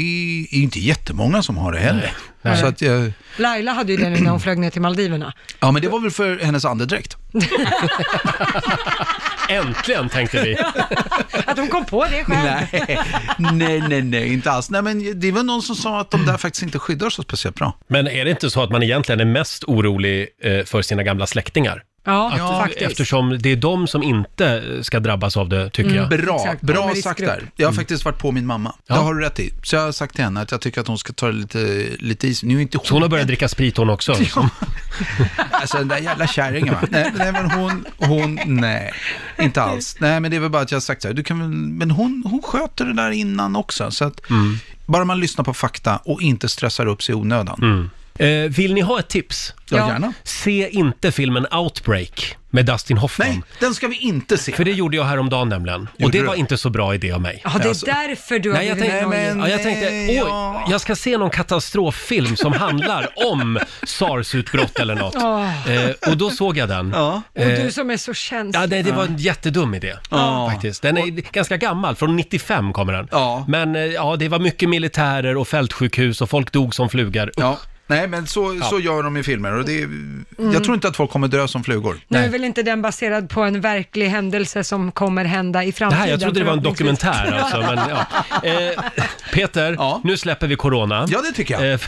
S10: är ju inte jättemånga som har det heller.
S2: Nej.
S10: Så att jag,
S2: Laila hade ju det nu när hon flög ner till Maldiverna.
S10: ja, men det var väl för hennes andedräkt.
S1: Äntligen, tänkte vi.
S2: Att hon kom på det själv.
S10: Nej, nej, nej, nej, inte alls. Nej, men det var någon som sa att de där faktiskt inte skyddar så speciellt bra.
S1: Men är det inte så att man egentligen är mest orolig eh, för sina gamla släktingar?
S2: Ja,
S1: Att-
S10: faktiskt.
S1: Eftersom det är de som inte eh, ska drabbas av det, tycker
S2: Mm,
S1: jag. Mm.
S10: Bra, bra sagt där. Jag har faktiskt varit på min mamma. Det har du rätt i. Så jag har sagt till henne att jag tycker att hon ska ta det lite, lite is. Nu är inte hon... Så hon
S1: har börjat dricka sprit hon också?
S10: alltså den där jävla kärringen va. Nej, nej men hon, hon, nej, inte alls. Nej men det är väl bara att jag har sagt så här, du kan väl, men hon, hon sköter det där innan också. Så att
S1: Mm.
S10: bara man lyssnar på fakta och inte stressar upp sig i onödan.
S1: Eh, vill ni ha ett tips?
S10: Ja, Ja. gärna.
S1: Se inte filmen Outbreak med Dustin Hoffman. Nej,
S10: den ska vi inte se.
S1: För det gjorde jag häromdagen nämligen. och
S10: Gjorde
S1: det
S10: du?
S1: var inte så bra idé av mig.
S2: Ja, det
S10: Alltså-
S2: är därför du har
S1: Nej, jag
S2: blivit
S1: tänkte,
S2: nojig.
S1: ja, jag tänkte oj, jag ska se någon katastroffilm som handlar om SARS-utbrott eller något.
S2: Åh.
S1: Eh, och då såg jag den.
S2: Och
S1: Eh,
S2: du som är så känslig.
S1: Ja, det, det var en jättedum idé
S2: Ja.
S1: faktiskt. Den är ganska gammal, från 95 kommer den. Men eh, ja, det var mycket militärer och fältsjukhus och folk dog som flugor.
S10: Ja. Nej, men så, så gör de i filmer och det,
S4: Mm.
S10: jag tror inte att folk kommer dö som flugor.
S2: Nu är väl inte den baserad på en verklig händelse som kommer hända i
S1: Det
S2: framtiden?
S1: här, jag trodde det var en
S2: förhoppningsvis.
S1: dokumentär alltså, men ja. eh, Peter, nu släpper vi corona.
S10: Ja, det tycker
S1: jag.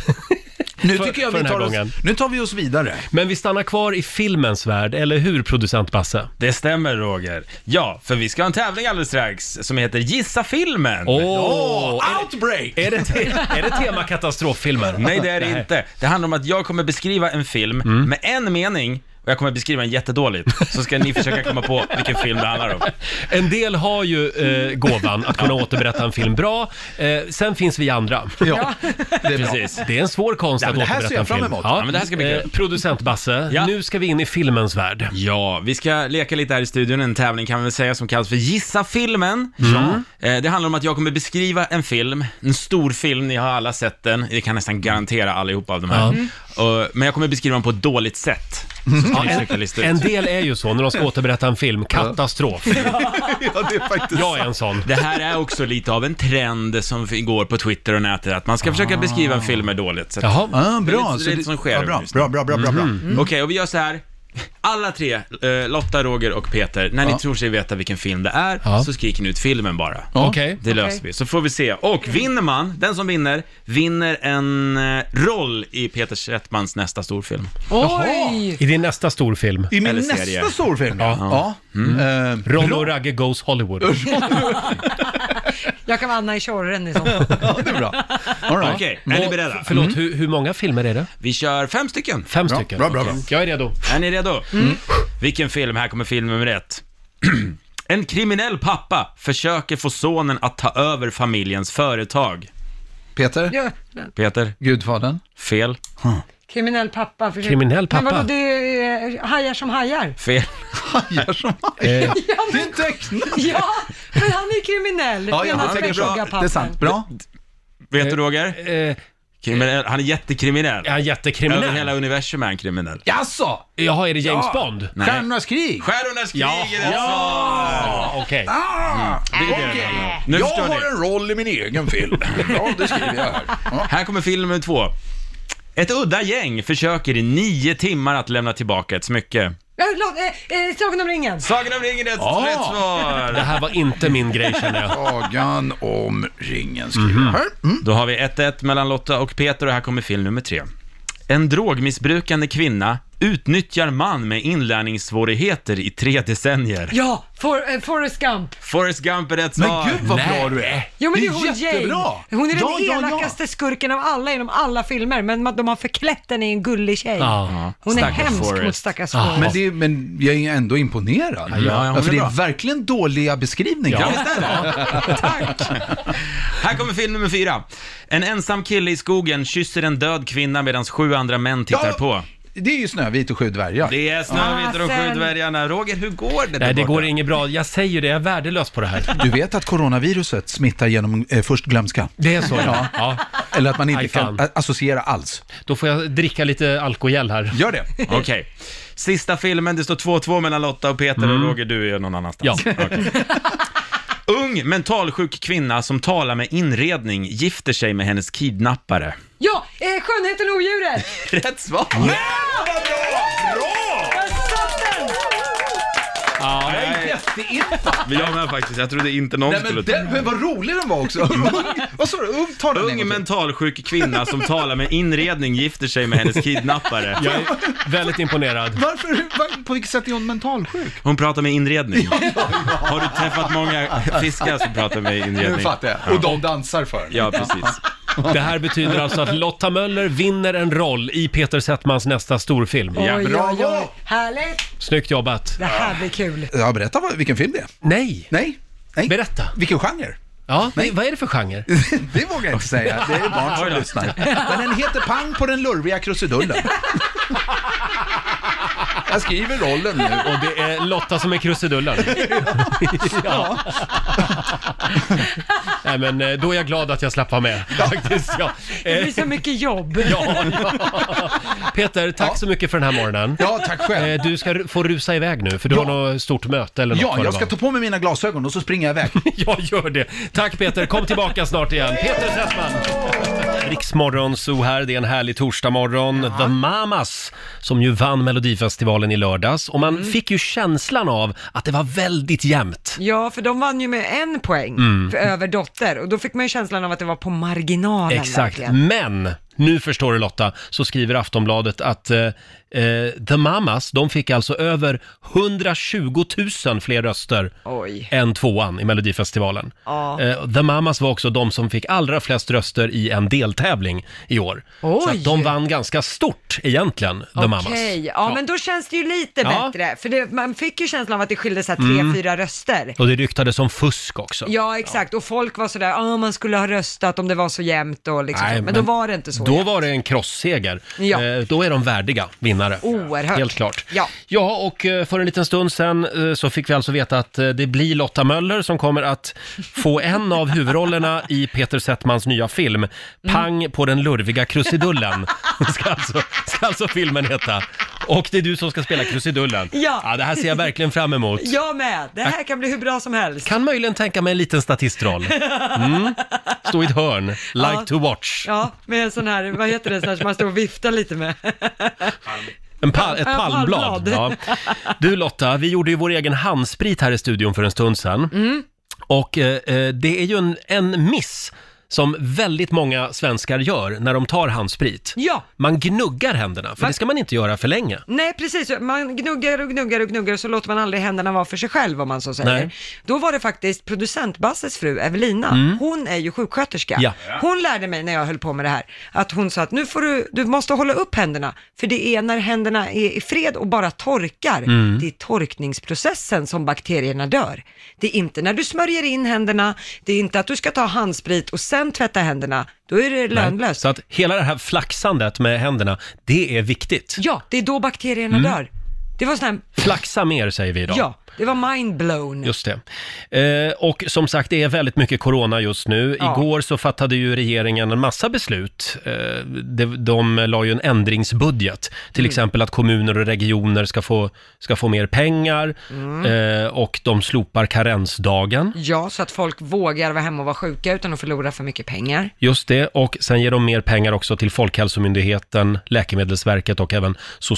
S10: Nu tycker jag
S1: för
S10: vi
S1: den här
S10: tar oss,
S1: gången.
S10: nu tar vi oss vidare.
S1: Men vi stannar kvar i filmens värld, eller hur producent Basse?
S4: Det stämmer Roger. Ja, för vi ska ha en tävling alldeles strax som heter Gissa filmen.
S1: Åh!
S10: outbreak!
S1: Är det, te- är det tema katastroffilmer?
S4: Nej, det är det
S1: Nej. Mm.
S4: inte. Det handlar om att jag kommer beskriva en film med en mening och jag kommer beskriva den jättedåligt. Så ska ni försöka komma på vilken film det handlar om.
S1: En del har ju eh, gåvan att kunna återberätta en film bra. Eh, sen finns vi andra.
S10: Ja, det är bra.
S4: Precis.
S1: Det är en svår konst
S4: Ja,
S1: att
S4: men det här ser
S1: återberätta
S4: jag
S1: en
S4: fram
S1: film. Eh,
S4: emot. Ja, men det här ska bli kul.
S1: producent Basse, nu ska vi in i filmens värld.
S4: Ja, vi ska leka lite här i studion, en tävling kan vi väl säga som kallas för Gissa filmen.
S1: Mm. Ja.
S4: Eh, Det handlar om att jag kommer beskriva en film, en stor film, ni har alla sett den, det kan nästan garantera allihopa av de här. Mm.
S1: Ja. Mm.
S4: Och- Men jag kommer beskriva den på ett dåligt sätt. Så ska
S1: Ja,
S4: ni försöka
S1: en,
S4: lista ut.
S1: en del är ju så när de ska återberätta en film, katastrof.
S10: ja, det är faktiskt
S1: Jag är en sån.
S4: Det här är också lite av en trend som går på Twitter och nätet, att man ska försöka beskriva en film med dåligt. Så att-
S1: Jaha.
S10: Ah,
S4: Det är lite-
S10: bra.
S4: det
S10: Så
S4: är lite som sker
S10: ja, bra,
S4: just nu.
S10: bra, bra, bra, bra. bra.
S4: Mm. Okej, och vi gör så här. Alla tre, eh, Lotta, Roger och Peter, när ni tror sig veta vilken film det är,
S1: Ja.
S4: så skriker ni ut filmen bara.
S1: Okej.
S4: Det löser vi, så får vi se. Och vinner man, den som vinner, vinner en eh, roll i Peter Settmans nästa storfilm.
S2: Oj!
S1: I din nästa storfilm. Mm.
S10: I min
S4: Eller
S10: nästa
S4: serie.
S10: storfilm? Ja. ja. Eh,
S1: Ron
S10: bra.
S1: och Ragge Goes Hollywood.
S2: Jag kan vara Anna i Tjorren liksom. i så fall.
S10: Ja, det är bra. All right. Mm.
S4: Okej, är ni
S1: Och-
S4: beredda?
S1: Förlåt, hur, hur många filmer är det?
S4: Vi kör fem stycken.
S1: Fem
S10: Bra,
S1: stycken?
S10: bra, bra, bra.
S1: Okej. Jag är redo.
S4: Är ni redo?
S10: Mm.
S4: Mm. Vilken film? Här kommer film nummer ett. en kriminell pappa försöker få sonen att ta över familjens företag.
S10: Peter,
S2: Djävulen.
S4: Peter,
S10: Gudfadern.
S4: fel,
S2: Kriminell pappa. försöker-
S1: Kriminell pappa.
S2: Men vadå, det är eh, hajar som hajar.
S4: fel.
S10: Hajar som
S1: Eh,
S10: Det är en tecknare.
S2: Ja, men han är kriminell.
S10: Ja, ja,
S2: Menar
S10: han
S2: att
S10: tänker
S2: jag
S10: bra.
S2: sågar
S10: Det är sant. Bra.
S4: Vet du Roger?
S1: eh,
S4: Kriminell. Han är jättekriminell.
S1: är han jättekriminell?
S4: Över hela universum är han kriminell.
S10: Jaså?
S1: Jaha, är det James Bond?
S4: Nej.
S10: Stjärnornas krig?
S4: Stjärnornas krig
S1: Ja.
S4: är det alltså!
S1: Ja, Okej.
S10: Ah,
S4: Mm. Det är det.
S10: okej.
S4: Nu
S10: Jag
S4: förstår ni.
S10: har en roll i min egen film. Ja, det skriver jag här. Ja.
S4: Här kommer film nummer två. Ett udda gäng försöker i nio timmar att lämna tillbaka ett smycke.
S2: Ja, låt- eh, eh, Sagan om ringen.
S4: Sagan om ringen är ett
S10: Ja.
S4: rätt
S1: Det
S4: svar!
S1: här var inte min grej känner jag. Mhm.
S10: Sagan om ringen skriver jag här. Mm.
S4: Då har vi 1-1 mellan Lotta och Peter och här kommer film nummer tre. En drogmissbrukande kvinna utnyttjar man med inlärningssvårigheter i tre decennier.
S2: Ja, For, eh, Forrest Gump.
S4: Forrest Gump är rätt svar!
S10: Men gud vad
S1: Nej.
S10: bra du är.
S2: Jo, men det
S10: Det
S2: är
S10: är
S2: hon
S10: jättebra.
S2: Jane. Hon är den
S10: Ja, ja, ja.
S2: elakaste skurken av alla inom alla filmer, men man- de har förklätt henne i en gullig tjej.
S1: Ja.
S2: Hon är
S4: Stackars
S2: hemsk mot
S4: Forrest.
S2: stackars
S1: Ja.
S2: Forrest.
S10: Men, det, men jag är ändå imponerad.
S4: ja, ja, hon
S10: för
S4: är
S10: det är
S4: bra.
S10: verkligen dåliga beskrivningar.
S4: Ja, visst är det? Tack! Här kommer film nummer fyra. En ensam kille i skogen kysser en död kvinna medan sju andra män tittar
S10: Ja.
S4: på.
S10: det är ju Snövit och sju dvärgar.
S4: Det är Snövit och de sju
S1: Ah,
S10: Fasen.
S4: dvärgarna. Roger, hur går det
S10: Nej, det går
S1: inget bra. Jag säger det, jag är värdelös på det här.
S10: Du vet att coronaviruset smittar genom eh, först glömska.
S1: Det är så, ja. ja.
S10: ja. Eller att man inte
S1: Aj,
S10: kan
S1: fan.
S10: a- associera alls.
S1: Då får jag dricka lite alkogel här.
S10: Gör det.
S4: Okej. Sista filmen, det står 2-2 mellan Lotta och Peter
S1: Mm.
S4: och Roger, du är någon annanstans.
S1: Ja.
S4: Okej. Ung mentalsjuk kvinna som talar med inredning gifter sig med hennes kidnappare.
S7: Ja, eh, skönheten och odjuret!
S4: Rätt svar! Ja,
S10: Nej, jätteinta!
S4: Jag med faktiskt, jag trodde inte någon
S10: Nej,
S4: skulle Mm.
S10: men, den, men vad rolig den var också! Ung- vad sa du? Ung, ta den en
S4: Ung
S10: gång till.
S4: mentalsjuk kvinna som talar med inredning gifter sig med hennes kidnappare.
S1: Jag är väldigt imponerad.
S10: Varför, var, på vilket sätt är hon mentalsjuk?
S4: Hon pratar med inredning. Har du träffat många fiskar som pratar med inredning?
S10: Nu fattar jag.
S4: Ja.
S10: Och de dansar för henne.
S4: Ja, precis.
S1: Det här betyder alltså att Lotta Möller vinner en roll i Peter Settmans nästa storfilm.
S4: Ja.
S2: Oj,
S10: Bravo!
S2: oj, oj. Härligt!
S1: Snyggt jobbat.
S2: Det här blir kul.
S10: Ja, berätta vad, vilken film det är.
S1: Nej,
S10: Nej, nej.
S1: berätta.
S10: Vilken genre?
S1: Ja, nej, vad är det för genre?
S10: Det vågar jag inte säga. Det är barn som lyssnar. Men den heter Pang på den lurviga krusidullen. Jag skriver rollen nu.
S1: Och det är Lotta som är krusidullen. ja. Nej men eh, då är jag glad att jag slapp vara med faktiskt. Ja.
S2: Det
S1: Eh,
S2: blir så mycket jobb.
S1: ja, ja. Peter, tack så mycket för den här morgonen.
S10: Ja, tack själv.
S1: Eh, Du ska ru- få rusa iväg nu för du
S10: Ja.
S1: har något stort möte eller något
S10: Ja,
S1: vad det
S10: jag ska
S1: var.
S10: ta på mig mina glasögon och så springer jag iväg.
S1: Jag gör det. Tack Peter, kom tillbaka snart igen. Peter Settman! Riksmorgon så här, det är en härlig torsdagmorgon. The Mamas, som ju vann Melodifestivalen i lördags. Och man
S10: Mm.
S1: fick ju känslan av att det var väldigt jämnt.
S2: Ja, för de vann ju med en poäng
S1: Mm.
S2: för över Dotter och då fick man ju känslan av att det var på marginalen.
S1: Exakt, Mm.
S2: verkligen.
S1: men nu förstår du Lotta, så skriver Aftonbladet att eh, eh, The Mamas, de fick alltså över 120 000 fler röster
S2: Oj.
S1: än tvåan i Melodifestivalen.
S2: Ja.
S1: Eh, The Mamas var också de som fick allra flest röster i en deltävling i år. Så
S2: Oj.
S1: att de vann ganska stort egentligen, The Mamas.
S2: Okej, ja, men då känns det ju lite
S1: Ja. Mm.
S2: bättre. För det, man fick ju känslan av att det skilde så här tre, fyra röster.
S1: Och det ryktades om fusk också.
S2: Ja, exakt. Och folk var sådär, ah, man skulle ha röstat om det var så jämnt och liksom.
S1: Nej,
S2: så. men, då var det inte så.
S1: Då
S2: jämnt.
S1: var det en krossseger.
S2: Ja.
S1: Eh, då är de värdiga vinnare.
S2: Oerhört.
S1: Helt klart.
S2: Ja.
S1: ja, och eh, för en liten stund sen så fick vi alltså veta att eh, det blir Lotta Möller som kommer att få en av huvudrollerna i Peter Settmans nya
S2: Mm.
S1: film. Pang på den lurviga krusidullen, ska alltså, ska alltså filmen heta. Och det är du som ska spela krusidullen.
S2: Ja.
S1: ja det här ser jag verkligen fram emot.
S2: Jag med! Det här kan bli hur bra som helst.
S1: Kan möjligen tänka mig en liten statistroll. Mm. Stå i ett hörn, like
S2: Ja.
S1: to watch.
S2: Ja, med en sån här, vad heter det, sån här som man står och viftar lite med.
S1: En pal ett
S2: Ja,
S1: palmblad. Ja.
S2: palmblad.
S1: Du Lotta, vi gjorde ju vår egen handsprit här i studion för en stund sedan.
S2: Mm.
S1: Och eh, eh, det är ju en, en miss som väldigt många svenskar gör när de tar handsprit.
S2: Ja,
S1: Man gnuggar händerna, för det ska man inte göra för länge.
S2: Nej, precis. Man gnuggar och gnuggar och gnuggar så låter man aldrig händerna vara för sig själv om man så säger.
S1: Nej.
S2: Då var det faktiskt producent Basses fru Evelina, hon är ju sjuksköterska.
S1: Mm. Ja.
S2: Hon lärde mig när jag höll på med det här att hon sa att nu får du, du måste hålla upp händerna för det är när händerna är i fred och bara torkar,
S1: Mm.
S2: det är torkningsprocessen som bakterierna dör. Det är inte när du smörjer in händerna, det är inte att du ska ta handsprit och sen tvätta händerna, då är det
S1: Nej.
S2: lönlöst.
S1: Så att hela det här flaxandet med händerna, det är viktigt. Mm.
S2: Ja, det är då bakterierna dör. Det var sån här
S1: Flaxa mer säger vi idag.
S2: Ja, det var mindblown.
S1: Just det. Eh, och som sagt, det är väldigt mycket corona just nu.
S2: Ja.
S1: Igår så fattade ju regeringen en massa beslut. Eh, de, de la ju en ändringsbudget. Till exempel att kommuner och regioner ska få, ska få mer pengar
S2: Mm.
S1: eh, och de slopar karensdagen.
S2: Ja, så att folk vågar vara hemma och vara sjuka utan att förlora för mycket pengar.
S1: Just det, och sen ger de mer pengar också till Folkhälsomyndigheten, Läkemedelsverket och även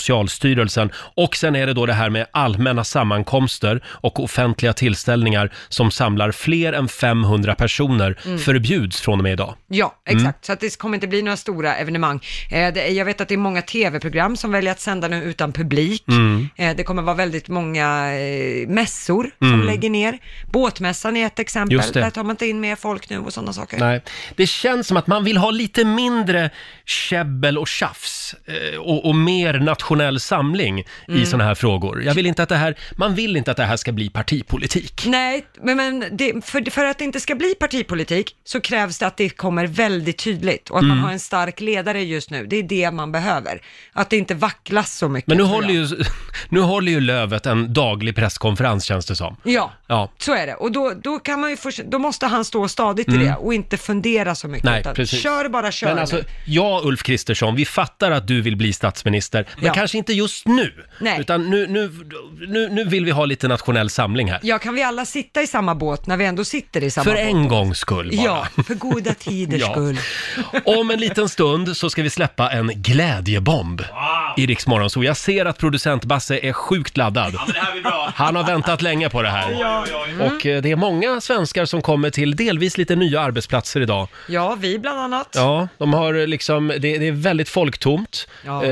S1: Socialstyrelsen. Och sen är det då det här med allmänna sammankomster och offentliga tillställningar som samlar fler än 500 personer förbjuds från och med idag.
S2: Ja,
S1: Mm.
S2: exakt. Så att det kommer inte bli några stora evenemang. Eh, det, jag vet att det är många tv-program som väljer att sända nu utan publik.
S1: Mm.
S2: Eh, det kommer vara väldigt många eh, mässor som lägger ner. Båtmässan är ett exempel.
S1: Mm. Just det.
S2: Där tar man inte in mer folk nu och sådana saker.
S1: Nej, det känns som att man vill ha lite mindre käbbel och tjafs eh, och, och mer nationell samling i sådana här frågor. Jag vill inte att det här, man vill inte att att det här ska bli partipolitik.
S2: Nej, men, men det, för, för att det inte ska bli partipolitik så krävs det att det kommer väldigt tydligt och att man
S1: Mm.
S2: har en stark ledare just nu. Det är det man behöver. Att det inte vacklas så mycket.
S1: Men nu
S2: tror
S1: håller,
S2: jag.
S1: ju, nu håller ju Lövet en daglig presskonferens känns det som.
S2: Ja,
S1: Ja.
S2: så är det. Och då, då, kan man ju först, då måste han stå stadigt i
S1: Mm.
S2: det och inte fundera så mycket.
S1: Nej,
S2: utan
S1: precis.
S2: Kör bara, kör.
S1: Men alltså, jag Ulf Kristersson, vi fattar att du vill bli statsminister, men
S2: Ja.
S1: kanske inte just nu.
S2: Nej.
S1: Utan nu, nu, nu, nu vill vi ha lite nationell samling här.
S2: Ja, kan vi alla sitta i samma båt när vi ändå sitter i samma
S1: För
S2: båt?
S1: en gångs skull bara.
S2: Ja, för goda tiders
S1: Ja.
S2: skull.
S1: Om en liten stund så ska vi släppa en glädjebomb i Rix Morgon. Så jag ser att producent Basse är sjukt laddad. Han har väntat länge på det här.
S2: Mm.
S1: Och eh, det är många svenskar som kommer till delvis lite nya arbetsplatser idag.
S2: Ja, vi bland annat.
S1: Ja, de har liksom, det, det är väldigt folktomt.
S2: Ja.
S1: Eh,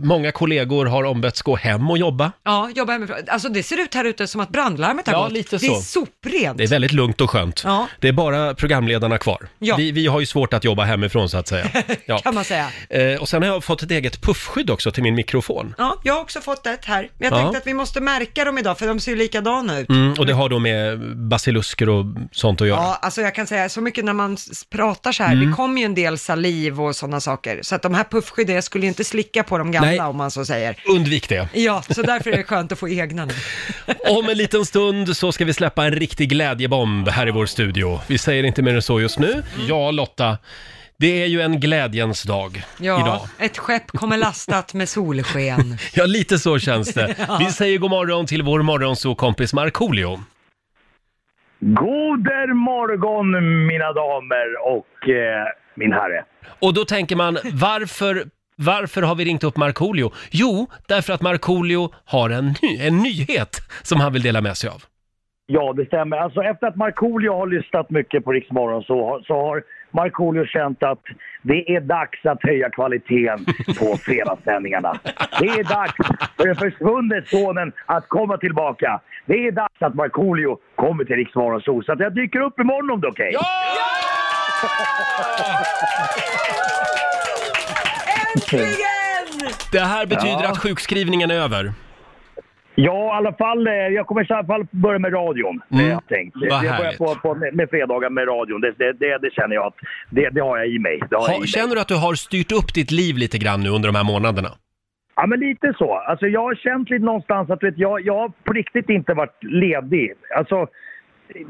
S1: många kollegor har ombetts gå hem och jobba.
S2: Ja, jobba hemifrån. Alltså det ser ut här ute som att brandlarmet har
S1: Ja,
S2: gått.
S1: lite
S2: Det är
S1: så.
S2: soprent.
S1: Det är väldigt lugnt och skönt.
S2: Ja.
S1: Det är bara programledarna kvar.
S2: Ja.
S1: Vi, vi har ju svårt att jobba hemifrån så att säga. Ja.
S2: Kan man säga.
S1: Eh, och sen har jag fått ett eget puffskydd också till min mikrofon.
S2: Ja, jag har också fått ett här. Men jag
S1: Ja.
S2: tänkte att vi måste märka dem idag för de ser ju likadana ut.
S1: Mm, och det har då med basilusker och sånt att göra.
S2: Ja, alltså jag kan säga så mycket när man s- pratar så här,
S1: Mm.
S2: det kommer ju en del saliv och sådana saker. Så att de här puffskydden, jag skulle ju inte slicka på de gamla
S1: Nej.
S2: om man så säger.
S1: Undvik det.
S2: Ja, så därför är det skönt att få egna nu.
S1: Om en liten stund så ska vi släppa en riktig glädjebomb här i vår studio. Vi säger inte mer än så just nu. Ja, Lotta. Det är ju en glädjens dag
S2: Ja,
S1: idag.
S2: ett skepp kommer lastat med solsken.
S1: Ja, lite så känns det.
S2: Ja.
S1: Vi säger god morgon till vår morgonsokompis Markoolio.
S11: Goder morgon mina damer och eh, min herre.
S1: Och då tänker man, varför, varför har vi ringt upp Markoolio? Jo, därför att Markoolio har en, ny, en nyhet som han vill dela med sig av.
S11: Ja, det stämmer. Alltså efter att Markoolio har lyssnat mycket på Rix Morgon så, har- så har Markoolio känt att det är dags att höja kvaliteten på fredagssändningarna. Det är dags för den försvunne sonen att komma tillbaka. Det är dags att Markoolio kommer till Rix Morgon så att jag dyker upp imorgon om det är okej.
S1: Det här betyder
S11: Ja.
S1: att sjukskrivningen är över.
S11: Ja, i alla fall. eh, Jag kommer i alla fall börja med radion. det har Jag tänkt.
S1: Mm. Vad
S11: Jag börjar
S1: härligt.
S11: på, på, med, med fredagar med radion. Det, det, det, det känner jag att det, det har jag i mig. Det har jag i
S1: Ha,
S11: mig.
S1: känner du att du har styrt upp ditt liv lite grann nu under de här månaderna?
S11: Ja, men lite så. Alltså, jag har känt lite någonstans att vet, jag, jag har på riktigt inte varit ledig. Alltså,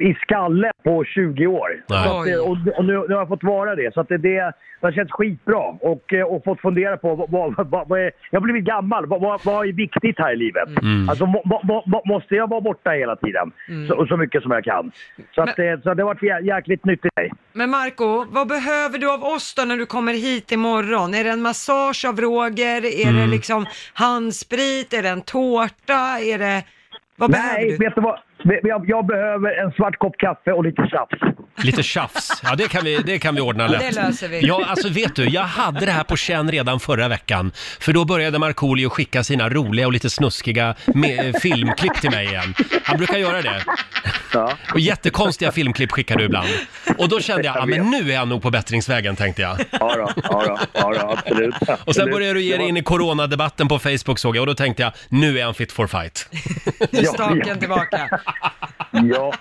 S11: i skalle på 20 år. Så
S7: Nej.
S11: att, eh, och och nu, nu har jag fått vara det. Så att det, det, det har känts skitbra. Och, eh, och fått fundera på vad, vad, vad, vad är, Jag har blivit gammal. Vad, vad, vad är viktigt här i livet?
S7: Mm.
S11: Alltså, må, må- må, må, måste jag vara borta hela tiden?
S2: Mm.
S11: Så, så mycket som jag kan. Så, att, eh, så det har varit jä- jäkligt nyttigt. mig.
S2: Men Marco, vad behöver du av oss då när du kommer hit imorgon? Är det en massage av Roger? Är det
S11: Mm.
S2: liksom handsprit? Är det en tårta? Är det... Vad behöver
S11: Nej,
S2: du?
S11: vet du vad? Jag, jag behöver en svart kopp kaffe och lite tjafs.
S1: Lite tjafs. Ja, det kan vi, det kan vi ordna
S11: Ja, det
S1: lätt.
S11: löser vi.
S1: Ja, alltså vet du, jag hade det här på känn redan förra veckan. För då började Markoolio skicka sina roliga och lite snuskiga me- filmklipp till mig igen. Han brukar göra det. Och jättekonstiga filmklipp skickar du ibland. Och då kände jag, ja men nu är han nog på bättringsvägen tänkte jag.
S11: Ja då, ja då, ja då absolut.
S1: Och sen
S11: absolut.
S1: började du ge dig in i coronadebatten på Facebook såg jag och då tänkte jag, nu är han fit for fight.
S11: Nu är staken Ja.
S2: tillbaka.
S11: Ja,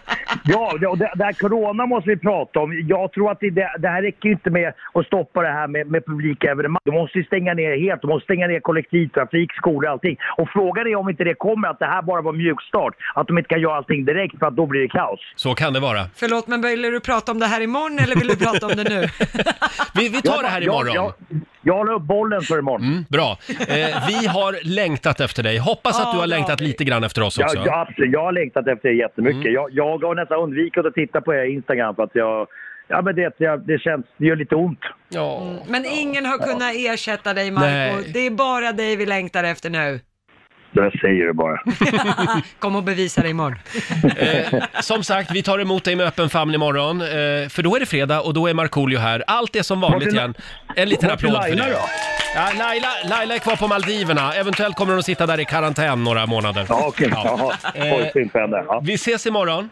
S11: ja det, och det, det här corona måste vi prata om. Jag tror att det, det här räcker ju inte med att stoppa det här med, med publika evenemang. De måste ju stänga ner helt. De måste stänga ner kollektivtrafik, skolor, allting. Och frågan är om inte det kommer att det här bara var mjukstart. Att de inte kan göra allting direkt för att då blir det kaos.
S1: Så kan det vara.
S2: Förlåt, men vill du prata om det här imorgon eller vill du prata om det nu?
S1: Vi, vi tar
S2: Jag-
S1: det här
S2: jag-
S1: imorgon.
S2: jag-
S11: jag håller upp bollen för imorgon.
S1: Mm, bra. Eh, vi har längtat efter dig. Hoppas att du
S11: Ja,
S1: har
S11: det har
S1: längtat lite grann efter oss
S11: Jag,
S1: också.
S11: jag, absolut, jag har längtat efter er jättemycket.
S1: Mm.
S11: Jag, jag har nästan undvikit att titta på er Instagram för att jag... Ja men det, jag, det känns... Det gör lite ont.
S1: Ja.
S2: Men ingen har kunnat ersätta dig,
S11: Nej.
S2: Marco. Det är bara dig vi längtar efter nu.
S11: Jag säger det bara.
S2: Kom och bevisa det imorgon.
S1: Eh, som sagt, vi tar emot dig med öppen famn imorgon. Eh, för då är det fredag och då är Markoolio här. Allt är som vanligt
S11: Vart är-
S1: igen. En liten
S11: vart är
S1: applåd för
S11: Laila
S1: det.
S11: då?
S1: Ja, Laila, Laila är kvar på Maldiverna. Eventuellt kommer hon att sitta där i karantän några månader. Eh,
S11: Ja, okej. Jaha. Oj, synd för henne.
S1: Vi ses imorgon.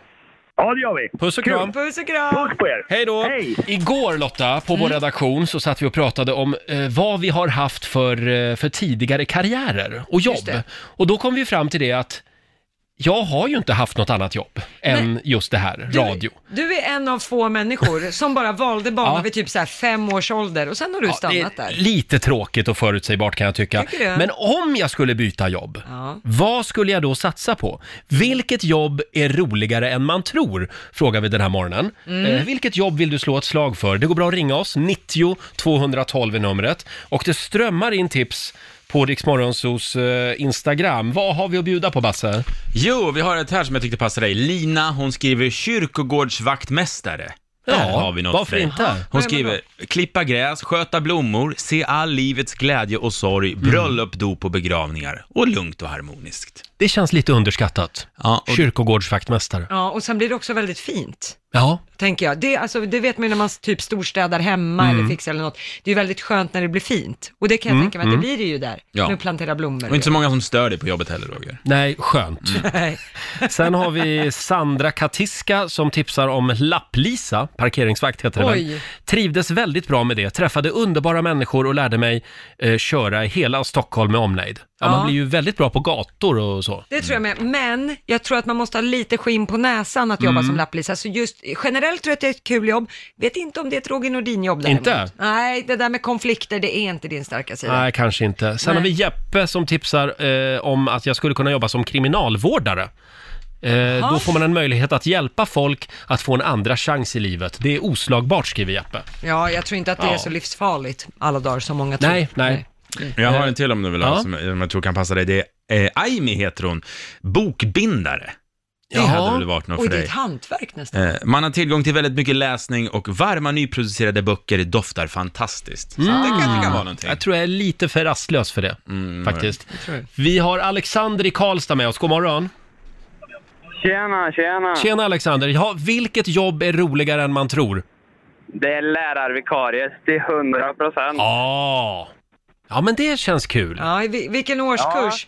S11: Ja, det gör vi.
S1: Puss och
S11: Kul.
S1: kram.
S2: Puss och kram!
S11: Puss på er!
S1: Hej då! Igår Lotta, på vår
S11: Mm.
S1: redaktion, så satt vi och pratade om eh, vad vi har haft för, eh, för tidigare karriärer och
S12: Just
S1: jobb.
S12: det.
S1: Och då kom vi fram till det att jag har ju inte haft något annat jobb än just det här, radio.
S2: Du är en av få människor som bara valde banan vid typ så här fem års ålder och sen har du stannat där.
S1: Lite tråkigt och förutsägbart kan jag tycka.
S2: Tycker du?
S1: Men om jag skulle byta jobb,
S2: Ja.
S1: vad skulle jag då satsa på? Vilket jobb är roligare än man tror? Frågar vi den här morgonen.
S12: Mm.
S1: Eh, vilket jobb vill du slå ett slag för? Det går bra att ringa oss, 90 212 är numret. Och det strömmar in tips på Rix Morgonzos, eh, Instagram. Vad har vi att bjuda på, Basse?
S4: Jo, vi har ett här som jag tyckte passade dig. Lina, hon skriver kyrkogårdsvaktmästare.
S1: Ja,
S4: Där har vi något
S1: varför
S4: för dig.
S1: inte?
S4: Hon skriver, klippa gräs, sköta blommor, se all livets glädje och sorg,
S1: Mm.
S4: bröllop, dop och begravningar. Och lugnt och harmoniskt.
S1: Det känns lite underskattat.
S4: Ja,
S1: Kyrkogårdsvaktmästare.
S2: Ja, och sen blir det också väldigt fint.
S1: Ja.
S2: Tänker jag. Det, alltså, det vet man ju när man typ storstädar hemma
S1: Mm.
S2: eller fixar eller något. Det är ju väldigt skönt när det blir fint. Och det kan jag
S4: Mm,
S2: tänka mig att
S4: mm.
S2: det blir det ju där.
S4: Ja.
S2: Nu planterar
S1: Mm.
S2: blommor.
S4: Och inte så många som stör dig på jobbet heller, Roger.
S1: Nej, skönt.
S2: Nej.
S1: Sen har vi Sandra Katiska som tipsar om Lapplisa, parkeringsvakt heter det väl.
S2: Oj.
S1: Trivdes väldigt bra med det, träffade underbara människor och lärde mig eh, köra i hela Stockholm med omnejd. Ja,
S2: Ja.
S1: man blir ju väldigt bra på gator och så.
S2: Det tror jag med, men jag tror att man måste ha lite skinn på näsan att jobba
S1: Mm.
S2: som lapplisa. Så just generellt tror jag att det är ett kul jobb. Vet inte om det är ett Roger Nordin-jobb däremot.
S1: Inte?
S2: Nej, det där med konflikter, det är inte din starka sida.
S1: Nej, kanske inte. Sen har vi
S2: Nej.
S1: Jeppe som tipsar eh, om att jag skulle kunna jobba som kriminalvårdare. Eh, då får man en möjlighet att hjälpa folk att få en andra chans i livet. Det är oslagbart, skriver Jeppe.
S2: Ja, jag tror inte att det
S1: Ja.
S2: är så livsfarligt alla dagar som många tror.
S1: Nej, nej.
S4: Jag har en till om du vill ha,
S1: Ja.
S4: som jag- som jag tror kan passa dig. Det är eh, Aimi heter hon, bokbindare. Det hade väl varit något
S2: Oj,
S4: för
S2: det är
S4: dig.
S2: ett hantverk nästan.
S4: Eh, Man har tillgång till väldigt mycket läsning och varma nyproducerade böcker doftar fantastiskt. Så det kanske kan vara någonting.
S1: Mm. Jag tror jag är lite för rastlös för det, faktiskt. Vi har Alexander i Karlstad med oss. God morgon.
S13: Tjena, tjena.
S1: Tjena Alexander. Ja, vilket jobb är roligare än man tror?
S13: Det är lärarvikarier till 100 procent.
S1: Ja. Ja, men det känns kul.
S2: Ja, i vi- vilken årskurs?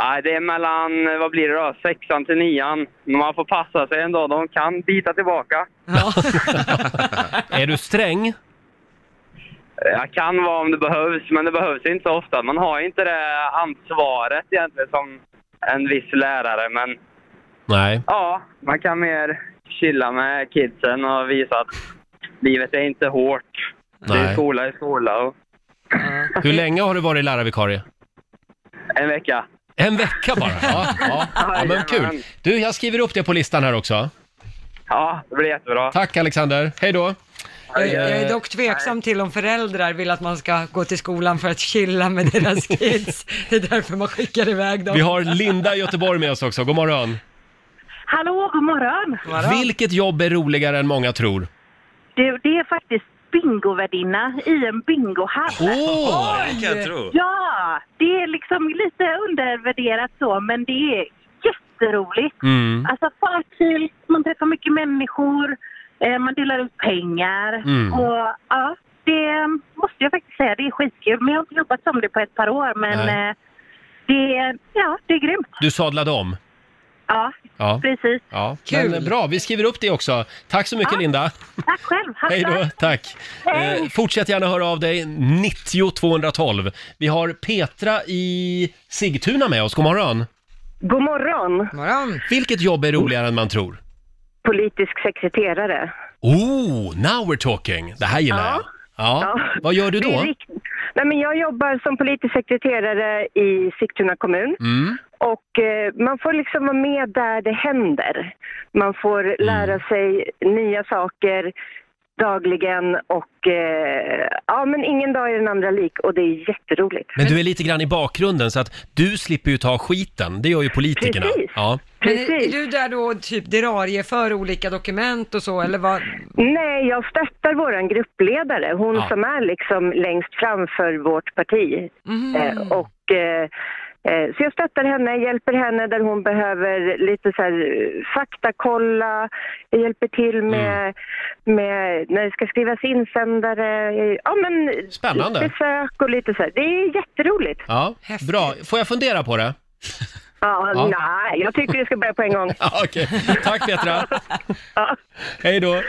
S13: Nej, det är mellan, eh, vad blir det då, sexan till nian. Men man får passa sig en dag. De kan bita tillbaka.
S1: Är du sträng?
S13: Jag kan vara om det behövs, men det behövs inte så ofta. Man har inte det ansvaret egentligen som en viss lärare, men
S1: Nej.
S13: ja, man kan mer chilla med kidsen och visa att livet är inte hårt. Det är
S1: Nej.
S13: skola i skola och
S1: Hur länge har du varit lärarvikarie?
S13: en vecka.
S1: En vecka bara? Ja, ja. ja men kul. Du, jag skriver upp det på listan här också.
S13: Ja, det blir jättebra.
S1: Tack Alexander. Hej då.
S2: Jag, jag är
S1: Eh,
S2: dock tveksam till om föräldrar vill att man ska gå till skolan för att chilla med deras kids. Det är därför man skickar iväg dem.
S1: Vi har Linda i Göteborg med oss också. God morgon.
S14: Hallå, god morgon!
S1: Vilket jobb är roligare än många tror?
S14: Det, det är faktiskt bingovärdinna i en bingohall.
S1: Åh, det kan jag tro.
S14: Ja, det är liksom lite undervärderat så, men det är jätteroligt.
S7: Mm.
S14: Alltså fartfyllt, man träffar mycket människor, eh, man delar ut pengar
S7: Mm.
S14: och ja, det måste jag faktiskt säga, det är skitkul. Men jag har inte jobbat som det på ett par år, men
S1: Nej.
S14: eh, det, är- ja, det är grymt.
S1: Du sadlade om?
S14: Ja,
S1: Ja.
S14: precis.
S1: Ja,
S14: Kul.
S1: Men bra. Vi skriver upp det också. Tack så mycket Linda.
S14: Tack själv! Ha det
S1: Hej
S14: bra.
S1: då, tack. Eh, fortsätt gärna höra av dig, 90 212. Vi har Petra i Sigtuna med oss, god morgon.
S15: God morgon.
S2: morgon.
S1: Vilket jobb är roligare än man tror?
S15: Politisk sekreterare.
S1: Oh, now we're talking! Det här gillar jag. Ja. Vad gör du
S15: Det
S1: då?
S15: är rikt- Nej, men jag jobbar som politisk sekreterare i Sigtuna kommun.
S1: Mm.
S15: Och eh, man får liksom vara med där det händer. Man får
S1: Mm.
S15: lära sig nya saker dagligen och eh, ja, men ingen dag är den andra lik och det är jätteroligt.
S1: Men du är lite grann i bakgrunden så att du slipper ju ta skiten, det gör ju politikerna.
S15: Precis.
S1: Ja.
S2: Men är, är du där då och typ dirarie för olika dokument och så eller vad?
S15: Nej, jag stöttar vår gruppledare, hon
S2: Ja.
S15: som är liksom längst fram för vårt parti.
S2: Mhm.
S15: Eh, och, eh, eh, så jag stöttar henne, hjälper henne där hon behöver lite så här, eh, faktakolla, jag hjälper till med, med när det ska skrivas insändare, eh, ja men
S1: Spännande.
S15: besök och lite så här. Det är jätteroligt.
S1: Ja, bra. Får jag fundera på det?
S15: Ja,
S1: Ja.
S15: nej, jag tycker vi ska börja på en gång.
S1: Ja, Okej. Tack Petra! Hej då!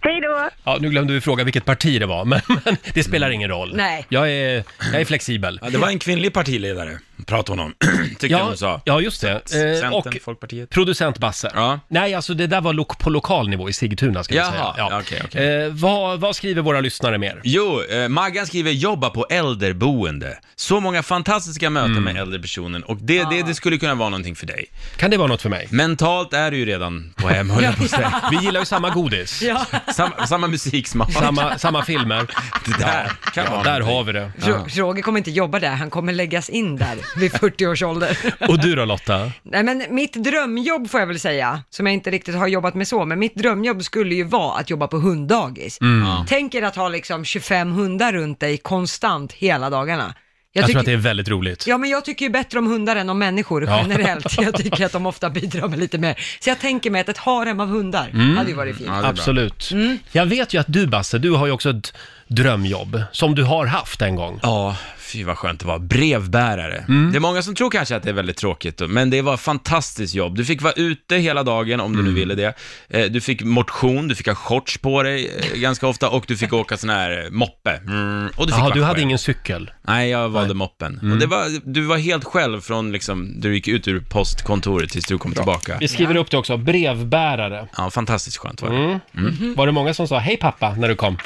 S15: Hej då!
S1: Ja, nu glömde vi fråga vilket parti det var, men, men det spelar
S2: Mm.
S1: ingen roll.
S15: Nej.
S1: Jag är, jag är flexibel.
S4: Ja, det var en kvinnlig partiledare, pratade hon om, tyckte
S1: ja,
S4: jag hon sa.
S1: Ja, just det. Eh,
S4: Centern,
S1: och
S4: Folkpartiet.
S1: producent Basse. Nej, alltså det där var lo- på lokal nivå i Sigtuna, ska jag säga.
S4: Jaha,
S1: Ja.
S4: okej,
S1: Eh, vad, vad skriver våra lyssnare mer?
S4: Jo, eh, Maggan skriver jobba på äldreboende. Så många fantastiska möten med äldre personer och det, det, det skulle kunna vara någonting för dig.
S1: Mm. Ah. Kan det vara något för mig?
S4: Mentalt är du ju redan på hem, höll jag på att säga.
S1: Vi gillar ju samma godis.
S4: Ja. Samma, samma musiksmak.
S1: Samma, samma filmer.
S4: Det där kan
S1: Ja,
S4: vara
S1: där
S4: någonting.
S1: har vi det.
S2: Ro- Roger kommer inte jobba där, han kommer läggas in där vid 40 års ålder.
S1: Och du då Lotta?
S2: Nej men mitt drömjobb får jag väl säga, som jag inte riktigt har jobbat med så, men mitt drömjobb skulle ju vara att jobba på hunddagis.
S1: Mm. Ja.
S2: Tänk er att ha liksom 25 hundar runt dig konstant hela dagarna.
S1: Jag,
S2: tycker-
S1: tror att det är väldigt roligt.
S2: Ja men jag tycker ju bättre om hundar än om människor
S1: Ja.
S2: generellt. Jag tycker att de ofta bidrar med lite mer. Så jag tänker mig att ett harem av hundar hade ju varit fint.
S1: Mm.
S2: Mm.
S1: Absolut. Jag vet ju att du Basse, du har ju också ett drömjobb som du har haft en gång.
S4: Ja, fy vad skönt det var. Brevbärare.
S1: Mm.
S4: Det är många som tror kanske att det är väldigt tråkigt, men det var ett fantastiskt jobb. Du fick vara ute hela dagen om du
S1: Mm.
S4: nu ville det. Eh, Du fick motion, du fick ha shorts på dig eh, ganska ofta och du fick åka sån här eh, moppe. Mm, och du fick
S1: Jaha,
S4: vara
S1: du hade
S4: själv.
S1: ingen Mm. cykel?
S4: Nej, jag valde moppen. Och det var, du var helt själv från liksom, du gick ut ur postkontoret tills du kom tillbaka.
S1: Vi skriver upp det också, brevbärare.
S4: Ja, fantastiskt skönt var det.
S1: Mm. Var det många som sa hej pappa när du kom?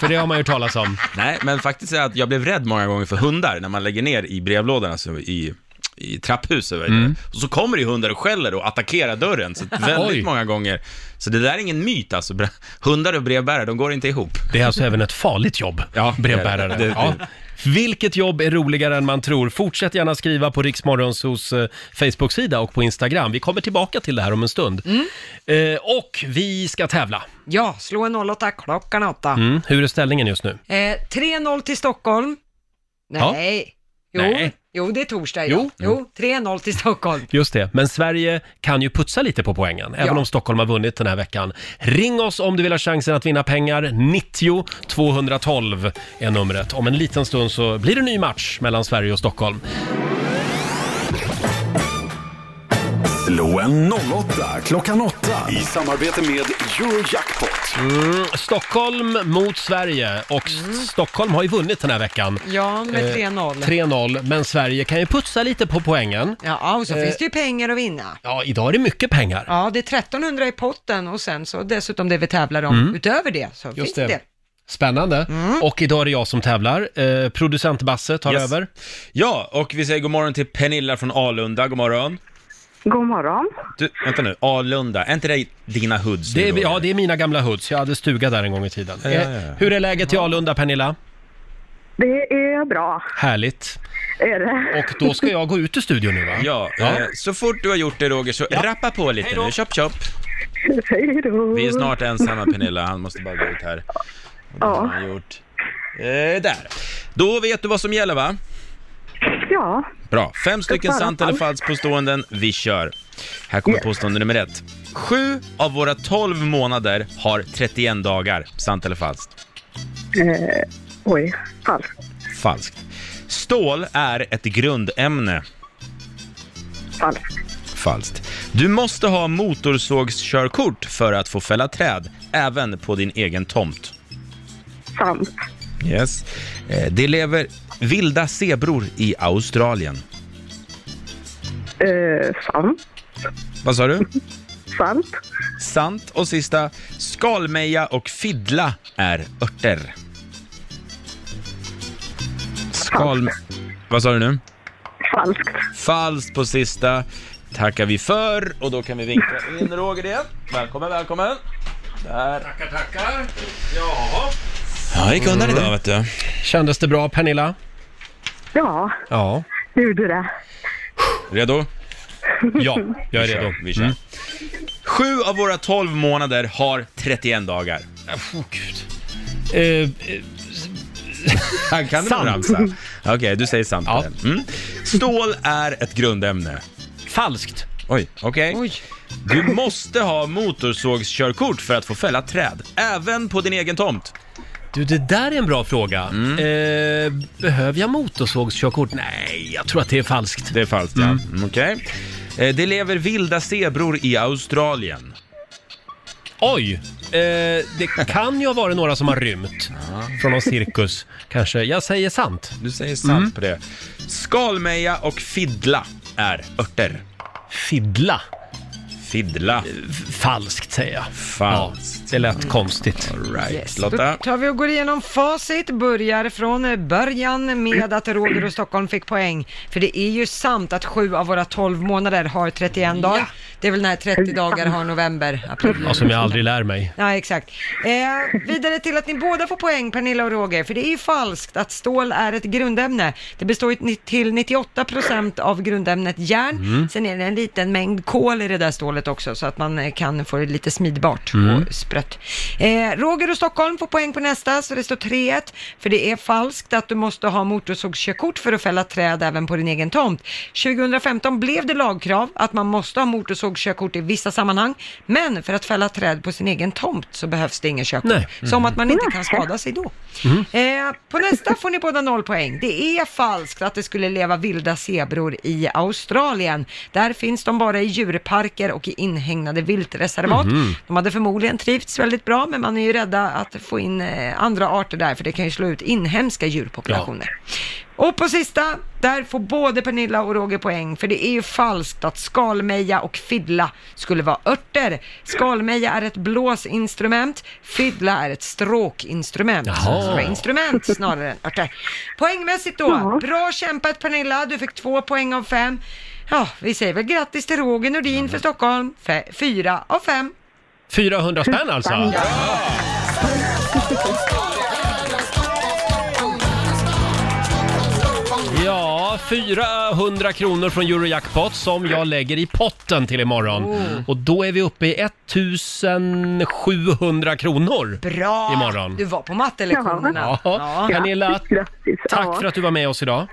S1: För det har man ju hört talas om.
S4: Nej, men faktiskt är att jag blev rädd många gånger för hundar när man lägger ner i brevlådan, alltså i, i trapphus och,
S1: Mm.
S4: och så kommer det hundar och skäller och attackerar dörren, så väldigt
S1: Oj.
S4: många gånger. Så det där är ingen myt alltså, Bre- hundar och brevbärare, de går inte ihop.
S1: Det är alltså även ett farligt jobb, brevbärare.
S4: det- det-
S1: Ja. Vilket jobb är roligare än man tror? Fortsätt gärna skriva på Riksmorgonsos eh, Facebook-sida och på Instagram. Vi kommer tillbaka till det här om en stund. Eh, och vi ska tävla.
S2: Mm. Ja, slå en 08 klockan 8.
S1: Mm. Hur är ställningen just nu?
S2: Eh, 3-0 till Stockholm. Nej. Jo.
S1: Nej.
S2: jo, det är torsdag idag. Jo, 3-0 till Stockholm.
S1: Just det, men Sverige kan ju putsa lite på poängen, även om Stockholm har vunnit den här veckan. Ring oss om du vill ha chansen att vinna pengar. 90 212 är numret. Om en liten stund så blir det ny match mellan Sverige och Stockholm.
S3: Slå en 08 klockan 8 i samarbete med Eurojackpot.
S1: Mm, Stockholm mot Sverige och s- Stockholm har ju vunnit den här veckan.
S2: Mm. Ja, med
S1: Eh,
S2: 3-0.
S1: 3-0, men Sverige kan ju putsa lite på poängen.
S2: Ja, och så
S1: Eh,
S2: finns det ju pengar att vinna.
S1: Ja, idag är det mycket pengar.
S2: Ja, det är 1300 i potten och sen så dessutom det vi tävlar om.
S1: Mm.
S2: Utöver det så finns
S1: Just
S2: det.
S1: det. Spännande.
S2: Mm.
S1: Och idag är det jag som tävlar. Eh, producent Basse tar
S4: Yes.
S1: över.
S4: Ja, och vi säger god morgon till Pernilla från Alunda, god morgon.
S15: God morgon.
S4: Du, vänta nu, Alunda, är inte det dina hoods?
S1: Det
S4: nu
S1: är,
S4: då?
S1: ja, det är mina gamla hoods. Jag hade stuga där en gång i tiden.
S4: Ja, ja, ja.
S1: Eh, Hur är läget i Alunda, Pernilla?
S15: Det är bra.
S1: Härligt.
S15: Är det?
S1: Och då ska jag gå ut ur studion nu va?
S4: Ja, Eh, så fort du har gjort det Roger, så rappa på lite nu, chop chop.
S15: Hej då.
S4: Vi är snart ensamma Pernilla, han måste bara gå ut här. Och det har han gjort. Eh, där. Då vet du vad som gäller va?
S15: Ja.
S4: Bra. Fem stycken
S15: svara
S4: sant eller falskt påståenden. Vi kör. Här kommer påstående nummer ett. Sju av våra tolv månader har 31 dagar. Sant eller falskt?
S15: Eh, oj, falskt.
S4: Falskt. Stål är ett grundämne.
S15: Falskt.
S4: Falskt. Du måste ha motorsågskörkort för att få fälla träd, även på din egen tomt.
S15: Sant.
S4: Yes. Eh, Det lever vilda zebror i Australien.
S15: Eh, sant.
S4: Vad sa du?
S15: Sant.
S4: Sant. Och sista, skalmeja och fiddla är örter. Skal... Vad sa du nu?
S15: Falskt.
S4: Falskt på sista. Tackar vi för och då kan vi vinka in Roger igen. Välkommen, välkommen. Där.
S1: Tackar, tackar. Ja.
S4: Ja, gick undan idag vet du.
S1: Kändes det bra Pernilla?
S15: Ja,
S1: Ja.
S15: det gjorde det.
S4: Redo?
S1: Ja, jag är redo. Mm.
S4: Vi kör. Sju av våra tolv månader har 31 dagar. Åh gud.
S1: Eh,
S4: Han kan du nog
S1: Sant.
S4: ramsa. Okej, du säger sant. på den. Mm. Stål är ett grundämne.
S1: Falskt.
S4: Oj, okej. Du måste ha motorsågskörkort för att få fälla träd, även på din egen tomt. Mm.
S1: Du, det där är en bra fråga. Eh, behöver jag motorsågskörkort? Nej, jag tror att det är falskt.
S4: Det är falskt, ja. Mm, Okej. Eh, Det lever vilda zebror i Australien.
S1: Oj! Eh, det kan ju ha varit några som har rymt från någon cirkus, kanske. Jag säger sant. Mm.
S4: Du säger sant på det. Skalmeja och fiddla är örter.
S1: Fiddla? Eh,
S4: Fiddla.
S1: Falskt säger jag.
S4: Falskt.
S1: Ja, det lät konstigt.
S4: All right.
S2: Yes.
S4: Lotta?
S2: Då tar vi och går igenom facit, börjar från början med att Roger och Stockholm fick poäng. För det är ju sant att sju av våra 12 månader har 31 dagar. Det är väl när 30 dagar har november, april.
S1: Ja, Alltså, som jag aldrig lär mig.
S2: Ja, exakt. Eh, vidare till att ni båda får poäng, Pernilla och Roger, för det är ju falskt att stål är ett grundämne. Det består ju ni- till 98% av grundämnet järn.
S1: Mm.
S2: Sen är det en liten mängd kol i det där stålet också, så att man eh, kan få det lite smidbart
S1: Mm.
S2: och sprött. Eh, Roger och Stockholm får poäng på nästa, så det står 3-1, för det är falskt att du måste ha motorsågskörkort för att fälla träd även på din egen tomt. 2015 blev det lagkrav att man måste ha motorsågskörkort i vissa sammanhang, men för att fälla träd på sin egen tomt så behövs det ingen körkort.
S1: Nej.
S2: Som att man inte kan skada sig då.
S1: Mm.
S2: Eh, på nästa får ni båda noll poäng. Det är falskt att det skulle leva vilda zebror i Australien. Där finns de bara i djurparker och i inhägnade viltreservat.
S7: Mhm.
S2: De hade förmodligen trivts väldigt bra, men man är ju rädda att få in eh, andra arter där, för det kan ju slå ut inhemska djurpopulationer. Och på sista, där får både Pernilla och Roger poäng, för det är ju falskt att skalmeja och fiddla skulle vara örter. Skalmeja är ett blåsinstrument, fiddla är ett stråkinstrument.
S7: Jaha.
S2: Så det ska vara instrument snarare än örter. Poängmässigt då, bra kämpat Pernilla, du fick två poäng av fem. Ja, vi säger väl grattis till Roger Nordin för Stockholm, Fe- fyra av fem.
S1: 400 spänn alltså? Ja, 400 kronor från Eurojackpot som jag lägger i potten till imorgon.
S4: Oh.
S1: Och då är vi uppe i 1700 kronor
S2: Bra!
S1: imorgon.
S2: Du var på mattelektionerna.
S1: Ja. Pernilla, tack
S2: ja.
S1: för att du var med oss idag.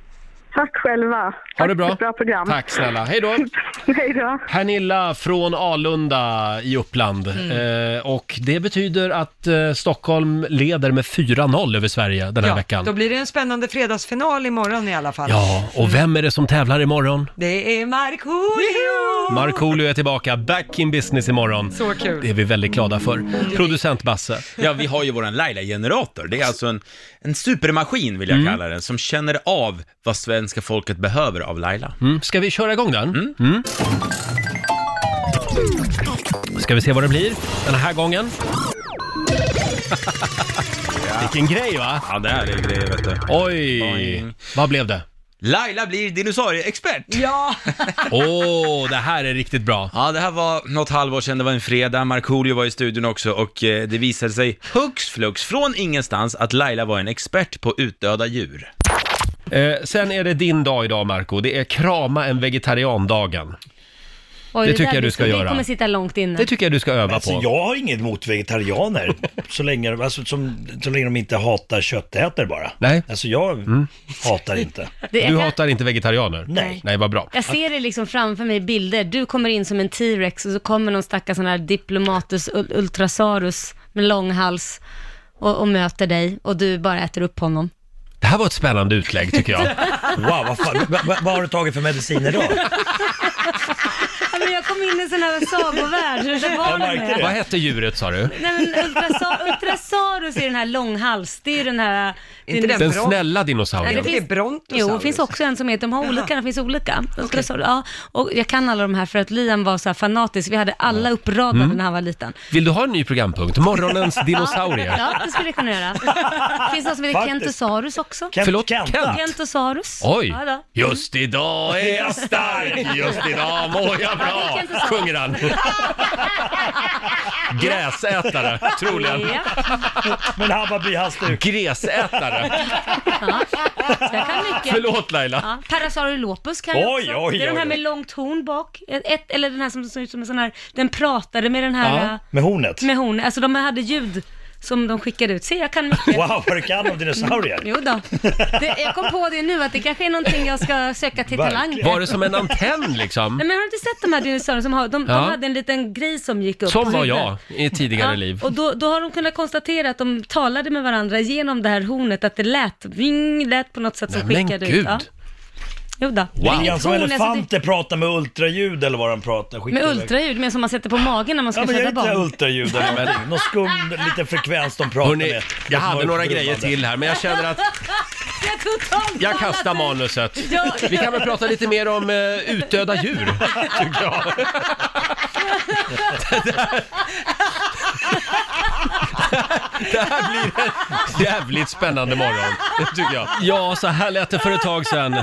S15: Tack själva.
S1: Ha det bra.
S15: Tack för ett bra program.
S1: Tack snälla. Hej då.
S15: Hej då.
S1: Pernilla från Alunda i Uppland.
S2: Mm.
S1: Eh, och det betyder att eh, Stockholm leder med 4-0 över Sverige den här
S2: ja,
S1: veckan.
S2: Då blir det en spännande fredagsfinal imorgon i alla fall.
S1: Ja, och vem är det som tävlar imorgon?
S2: Det är Markoolio!
S1: Markoolio är tillbaka, back in business imorgon.
S2: Så kul. Mm.
S1: Det är vi väldigt glada för. Producent Basse.
S4: Ja, vi har ju våran Laila-generator. Det är alltså en, en supermaskin, vill jag
S1: Mm.
S4: kalla den, som känner av vad svenska folket behöver av Laila.
S1: Mm. Ska vi köra igång den? Mm. Ska vi se vad det blir den här gången? Vilken grej va?
S4: Ja, det här är grejer, vet du.
S1: Oj! Vad blev det?
S4: Laila blir dinosaurieexpert!
S2: Ja!
S1: Åh, det här är riktigt bra.
S4: Ja, det här var något halvår sedan, det var en fredag, Markoolio var i studion också och eh, det visade sig hux flux, från ingenstans, att Laila var en expert på utdöda djur.
S1: Eh, sen är det din dag idag Marco. Det är krama en vegetariandagen.
S5: Oj,
S1: Det
S5: där
S1: tycker jag du
S5: blir-
S1: ska
S5: det
S1: göra.
S5: kommer sitta långt inne.
S1: Det tycker jag du ska öva
S16: Alltså,
S1: på.
S16: jag har inget emot vegetarianer, så länge, alltså, som, så länge de inte hatar köttätare bara.
S1: Nej. Mm.
S16: Alltså jag hatar inte.
S5: Det-
S1: Du hatar inte vegetarianer?
S5: Nej.
S1: Nej, vad bra.
S5: Jag ser det liksom framför mig i bilder. Du kommer in som en T-rex och så kommer någon stackars sån här Diplomatus ul- ultrasaurus med lång hals och, och möter dig och du bara äter upp honom.
S1: Det här var ett spännande utlägg tycker jag.
S16: Wow, vad, fan, vad, vad- vad har du tagit för mediciner då?
S5: Ja, men jag kom in i en sån här sagovärld. Så var det med.
S1: Vad hette djuret sa du?
S5: Nej men ultrasa- ultrasaurus är den här långhals, det är ju den här...
S1: Inte den Den bron- snälla dinosaurien. Det är
S5: brontosaurus. Jo, det finns också en som heter, de har olika, det finns olika. Ultrasaurus, ja. Och jag kan alla de här för att Liam var så här fanatisk, vi hade alla uppradade
S1: Mm.
S5: när han var liten.
S1: Vill du ha en ny programpunkt? Morgonens
S5: Ja,
S1: dinosaurier.
S5: ja, det skulle jag kunna göra. Det finns något som heter
S1: Faktiskt.
S5: Kentosaurus också.
S1: Kent- Förlåt? Kent?
S5: Kentosaurus.
S1: Oj!
S5: Ja, då.
S1: Just idag är jag stark, just idag mår jag
S5: Ja, det
S1: bra,
S5: kan inte
S1: sjunger han. Gräsätare, troligen.
S16: Men Hammarby, hans du.
S1: Gräsätare.
S5: Så jag kan mycket.
S1: Förlåt, Laila.
S5: Ja, Parasaurolopus kan jag
S1: Oj,
S5: också.
S1: oj,
S5: det är de här
S1: oj.
S5: med långt horn bak. Ett, eller den här som ser ut som en sån här, den pratade med den här...
S16: Ja, med hornet.
S5: Med horn. Alltså de hade ljud som de skickade ut. Se, jag kan mycket.
S16: Wow, vad du kan om dinosaurier.
S5: Jo då. Det, jag kom på det nu att det kanske är någonting jag ska söka till talang.
S1: Var det som en antenn liksom?
S5: Nej men har du inte sett de här dinosaurierna som har, de,
S1: Ja.
S5: de hade en liten grej som gick upp på
S1: Som var
S5: huvudet.
S1: jag i ett tidigare liv.
S5: Och då, då har de kunnat konstatera att de talade med varandra genom det här hornet, att det lät, ving, lät på något sätt som
S1: Nej, men
S5: skickade ut.
S1: gud.
S5: Jo då. alltså,
S16: Wow.
S5: Det är
S16: Han som
S5: injektioner, så
S16: elefanter pratar med ultraljud eller vad de pratar.
S5: det-
S16: Skit
S5: Med
S16: i det.
S5: ultraljud, men som man sätter på magen när man ska
S16: Ja, men jag är
S5: föda
S16: inte
S5: barn.
S16: ultraljud eller någonting. Någon skum liten frekvens de pratar
S1: Hörrni,
S16: med.
S1: jag hade några grejer till här, men jag känner att
S5: Jag totalt
S1: jag kastar manuset.
S5: Ja.
S1: Vi kan väl prata lite mer om eh, utdöda djur, tycker jag. Det här- Det här blir en jävligt spännande morgon, det tycker jag. Ja, så här lät det för ett tag sedan.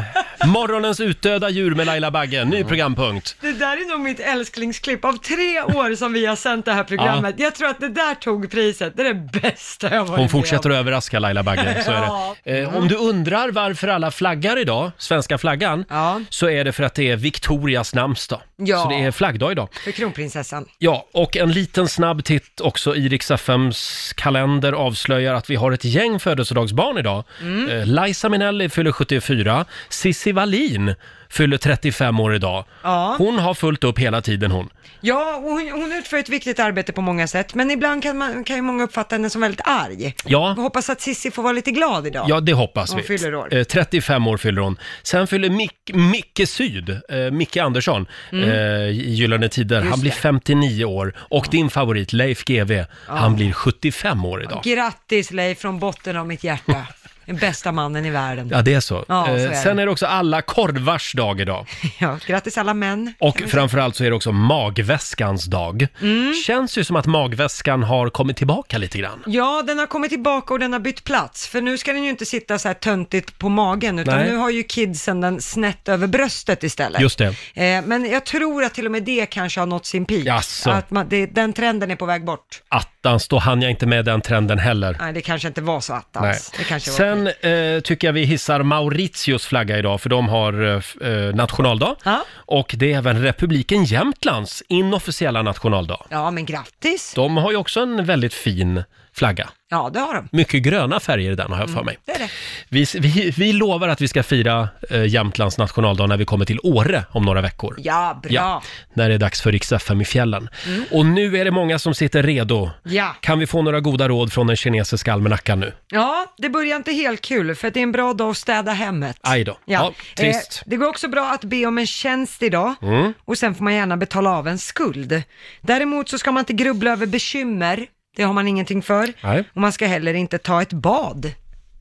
S1: Morgonens utdöda djur med Laila Bagge, ny programpunkt.
S2: Det där är nog mitt älsklingsklipp av tre år som vi har sänt det här programmet. Jag tror att det där tog priset. Det är det bästa jag har varit
S1: Hon fortsätter att överraska Laila Bagge, så är
S2: Ja.
S1: det. Eh, om du undrar varför alla flaggar idag, svenska flaggan, så är det för att det är Victorias namnsdag.
S2: Ja.
S1: Så det är flaggdag idag.
S2: För kronprinsessan.
S1: Ja, och en liten snabb titt också i Rix FMs kalender avslöjar att vi har ett gäng födelsedagsbarn idag.
S7: Mm.
S1: Eh, Liza Minnelli fyller 74, Cissi Wallin fyller 35 år idag.
S2: Ja.
S1: Hon har fullt upp hela tiden hon.
S2: Ja, och hon, hon utför ett viktigt arbete på många sätt, men ibland kan, man, kan ju många uppfatta henne som väldigt arg.
S1: Ja.
S2: Vi hoppas att Sissi får vara lite glad idag.
S1: Ja, det hoppas
S2: hon
S1: vi.
S2: fyller år.
S1: Eh, 35 år fyller hon. Sen fyller Mick, Micke Syd, eh, Micke Andersson,
S2: Mm.
S1: eh, i Gyllene Tider.
S2: Just
S1: Han blir
S2: det.
S1: 59 år. Och din favorit, Leif GW, han blir 75 år idag.
S2: Grattis Leif från botten av mitt hjärta. Den bästa mannen i världen.
S1: Ja, det är så.
S2: Ja, så
S1: Eh,
S2: är det.
S1: Sen är det också alla korvars dag idag.
S2: Ja, grattis alla män.
S1: Och framförallt så är det också magväskans dag.
S2: Mm.
S1: Känns ju som att magväskan har kommit tillbaka lite grann.
S2: Ja, den har kommit tillbaka och den har bytt plats. För nu ska den ju inte sitta så här töntigt på magen, utan
S1: Nej.
S2: nu har ju kidsen den snett över bröstet istället.
S1: Just det.
S2: Eh, men jag tror att till och med det kanske har nått sin peak.
S1: Jaså.
S2: Att man, det, den trenden är på väg bort.
S1: Attans, då hann jag inte med den trenden heller.
S2: Nej, det kanske inte var så
S1: Nej.
S2: attans. Det kanske var
S1: Sen eh, tycker jag vi hissar Mauritius flagga idag, för de har eh, f- eh, nationaldag. Och det är även republiken Jämtlands inofficiella nationaldag.
S2: Ja, men grattis.
S1: De har ju också en väldigt fin flagga.
S2: Ja, det har de.
S1: Mycket gröna färger i den har jag för
S2: Mm,
S1: mig.
S2: det är det.
S1: Vi, vi, vi lovar att vi ska fira eh, Jämtlands nationaldag när vi kommer till Åre om några veckor.
S2: Ja, bra. Mm.
S1: Ja, när det är dags för riks i fjällen. Och nu är det många som sitter redo.
S2: Ja.
S1: Kan vi få några goda råd från den kinesiska almanackan nu?
S2: Ja, det börjar inte helt kul för att det är en bra dag att städa hemmet.
S1: Aj då. Ja, trist.
S2: Eh, det går också bra att be om en tjänst idag
S1: Mm.
S2: och sen får man gärna betala av en skuld. Däremot så ska man inte grubbla över bekymmer, det har man ingenting för.
S1: Nej.
S2: Och man ska heller inte ta ett bad.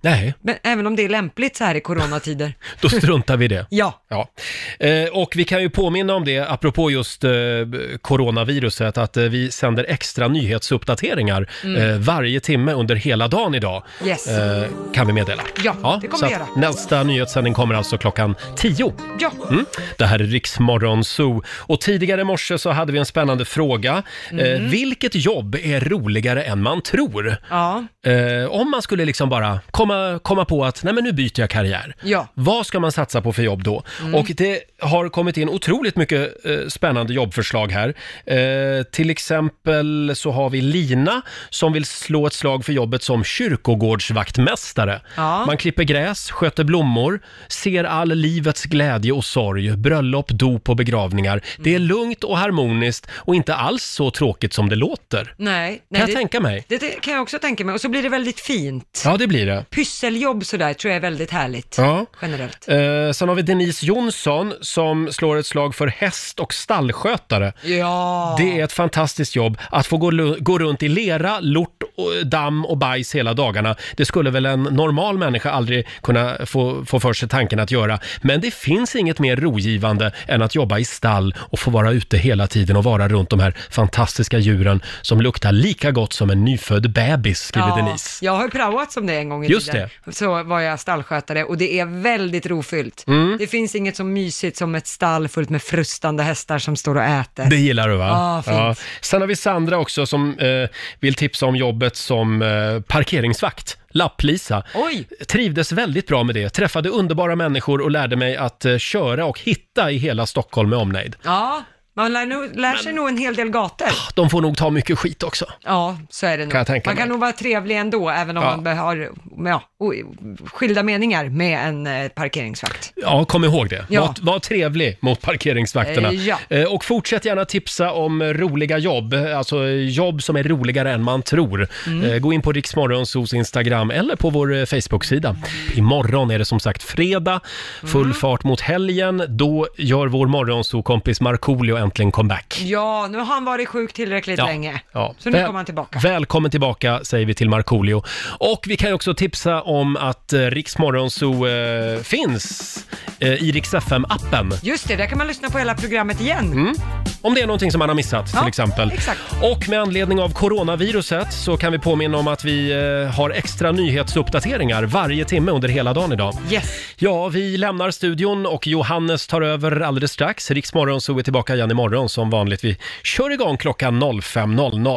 S1: Nej,
S2: Men även om det är lämpligt så här i coronatider.
S1: då struntar vi i det.
S2: Ja.
S1: Ja. Eh, och vi kan ju påminna om det, apropå just eh, coronaviruset, att eh, vi sänder extra nyhetsuppdateringar
S7: Mm.
S1: eh, varje timme under hela dagen idag.
S7: Yes.
S1: Eh, kan vi meddela.
S7: Ja, det kommer
S1: så
S7: vi
S1: att
S7: göra.
S1: Nästa nyhetssändning kommer alltså klockan 10.
S2: Ja.
S1: Mm. Det här är Riksmorgon Zoo. Och tidigare i morse så hade vi en spännande fråga. Eh,
S7: Mm.
S1: vilket jobb är roligare än man tror?
S2: Ja.
S1: Eh, om man skulle liksom bara komma, komma på att, nej men nu byter jag karriär.
S2: Ja.
S1: Vad ska man satsa på för jobb då?
S2: Mm.
S1: Och det har kommit in otroligt mycket eh, spännande jobbförslag här. Eh, till exempel så har vi Lina som vill slå ett slag för jobbet som kyrkogårdsvaktmästare.
S7: Ja.
S1: Man klipper gräs, sköter blommor, ser all livets glädje och sorg, bröllop, dop och begravningar. Det
S2: Mm.
S1: är lugnt och harmoniskt och inte alls så tråkigt som det låter.
S2: Nej. nej
S1: jag
S2: det,
S1: tänka mig.
S2: Det, det kan jag också tänka mig. Och så blir det väldigt fint.
S1: Ja, det blir det.
S2: Pysseljobb sådär tror jag är väldigt härligt.
S1: Ja.
S2: Generellt.
S1: Eh, sen har vi Denise Jonsson som slår ett slag för häst och stallskötare.
S2: Ja.
S1: Det är ett fantastiskt jobb. Att få gå, lu- gå runt i lera, lort, och, eh, damm och bajs hela dagarna. Det skulle väl en normal människa aldrig kunna få, få för sig tanken att göra. Men det finns inget mer rogivande än att jobba i stall och få vara ute hela tiden och vara runt de här fantastiska djuren som luktar lika gott som en nyfödd bebis, skriver Denise.
S2: Jag har ju praoat som det en gång i
S1: Just
S2: tiden. Så var jag stallskötare och det är väldigt rofyllt.
S1: Mm.
S2: Det finns inget så mysigt som ett stall fullt med frustande hästar som står och äter.
S1: Det gillar du va?
S2: Ja, fint.
S1: Sen har vi Sandra också som eh, vill tipsa om jobbet som eh, parkeringsvakt. Lapplisa.
S2: Oj.
S1: Trivdes väldigt bra med det. Träffade underbara människor och lärde mig att eh, köra och hitta i hela Stockholm med omnejd.
S2: Ja, Man lär, nog, lär sig nog en hel del gator.
S1: De får nog ta mycket skit också.
S2: Ja, så är det nog.
S1: Ah. Kan jag tänka
S2: man kan
S1: mig.
S2: nog vara trevlig ändå, även om
S1: Ja.
S2: man be- har ja, o- skilda meningar med en eh, parkeringsvakt.
S1: Ja, kom ihåg det.
S2: Ja.
S1: Var, var trevlig mot parkeringsvakterna.
S2: Eh, ja.
S1: Eh, Och fortsätt gärna tipsa om eh, roliga jobb, eh, alltså eh, jobb som är roligare än man tror.
S12: Mm.
S1: Eh, Gå in på Riksmorgonsos Instagram eller på vår eh, Facebook-sida. Imorgon är det som sagt fredag,
S2: Mm.
S1: full fart mot helgen. Då gör vår morgonsokompis Markoolio äntligen comeback.
S2: Ja, nu har han varit sjuk tillräckligt länge.
S1: ja.
S2: Så nu
S1: Väl-
S2: kommer han tillbaka.
S1: Välkommen tillbaka säger vi till Markoolio. Och vi kan ju också tipsa om att eh, Rix Morgonzoo eh, finns eh, i Rix FM-appen.
S2: Just det, där kan man lyssna på hela programmet igen.
S1: Mm. Om det är någonting som man har missat
S2: Ja,
S1: till exempel.
S2: exakt.
S1: Och med anledning av coronaviruset så kan vi påminna om att vi eh, har extra nyhetsuppdateringar varje timme under hela dagen idag.
S2: Yes.
S1: Ja, vi lämnar studion och Johannes tar över alldeles strax. Riksmorgon så är tillbaka igen imorgon som vanligt. Vi kör igång klockan 05.00.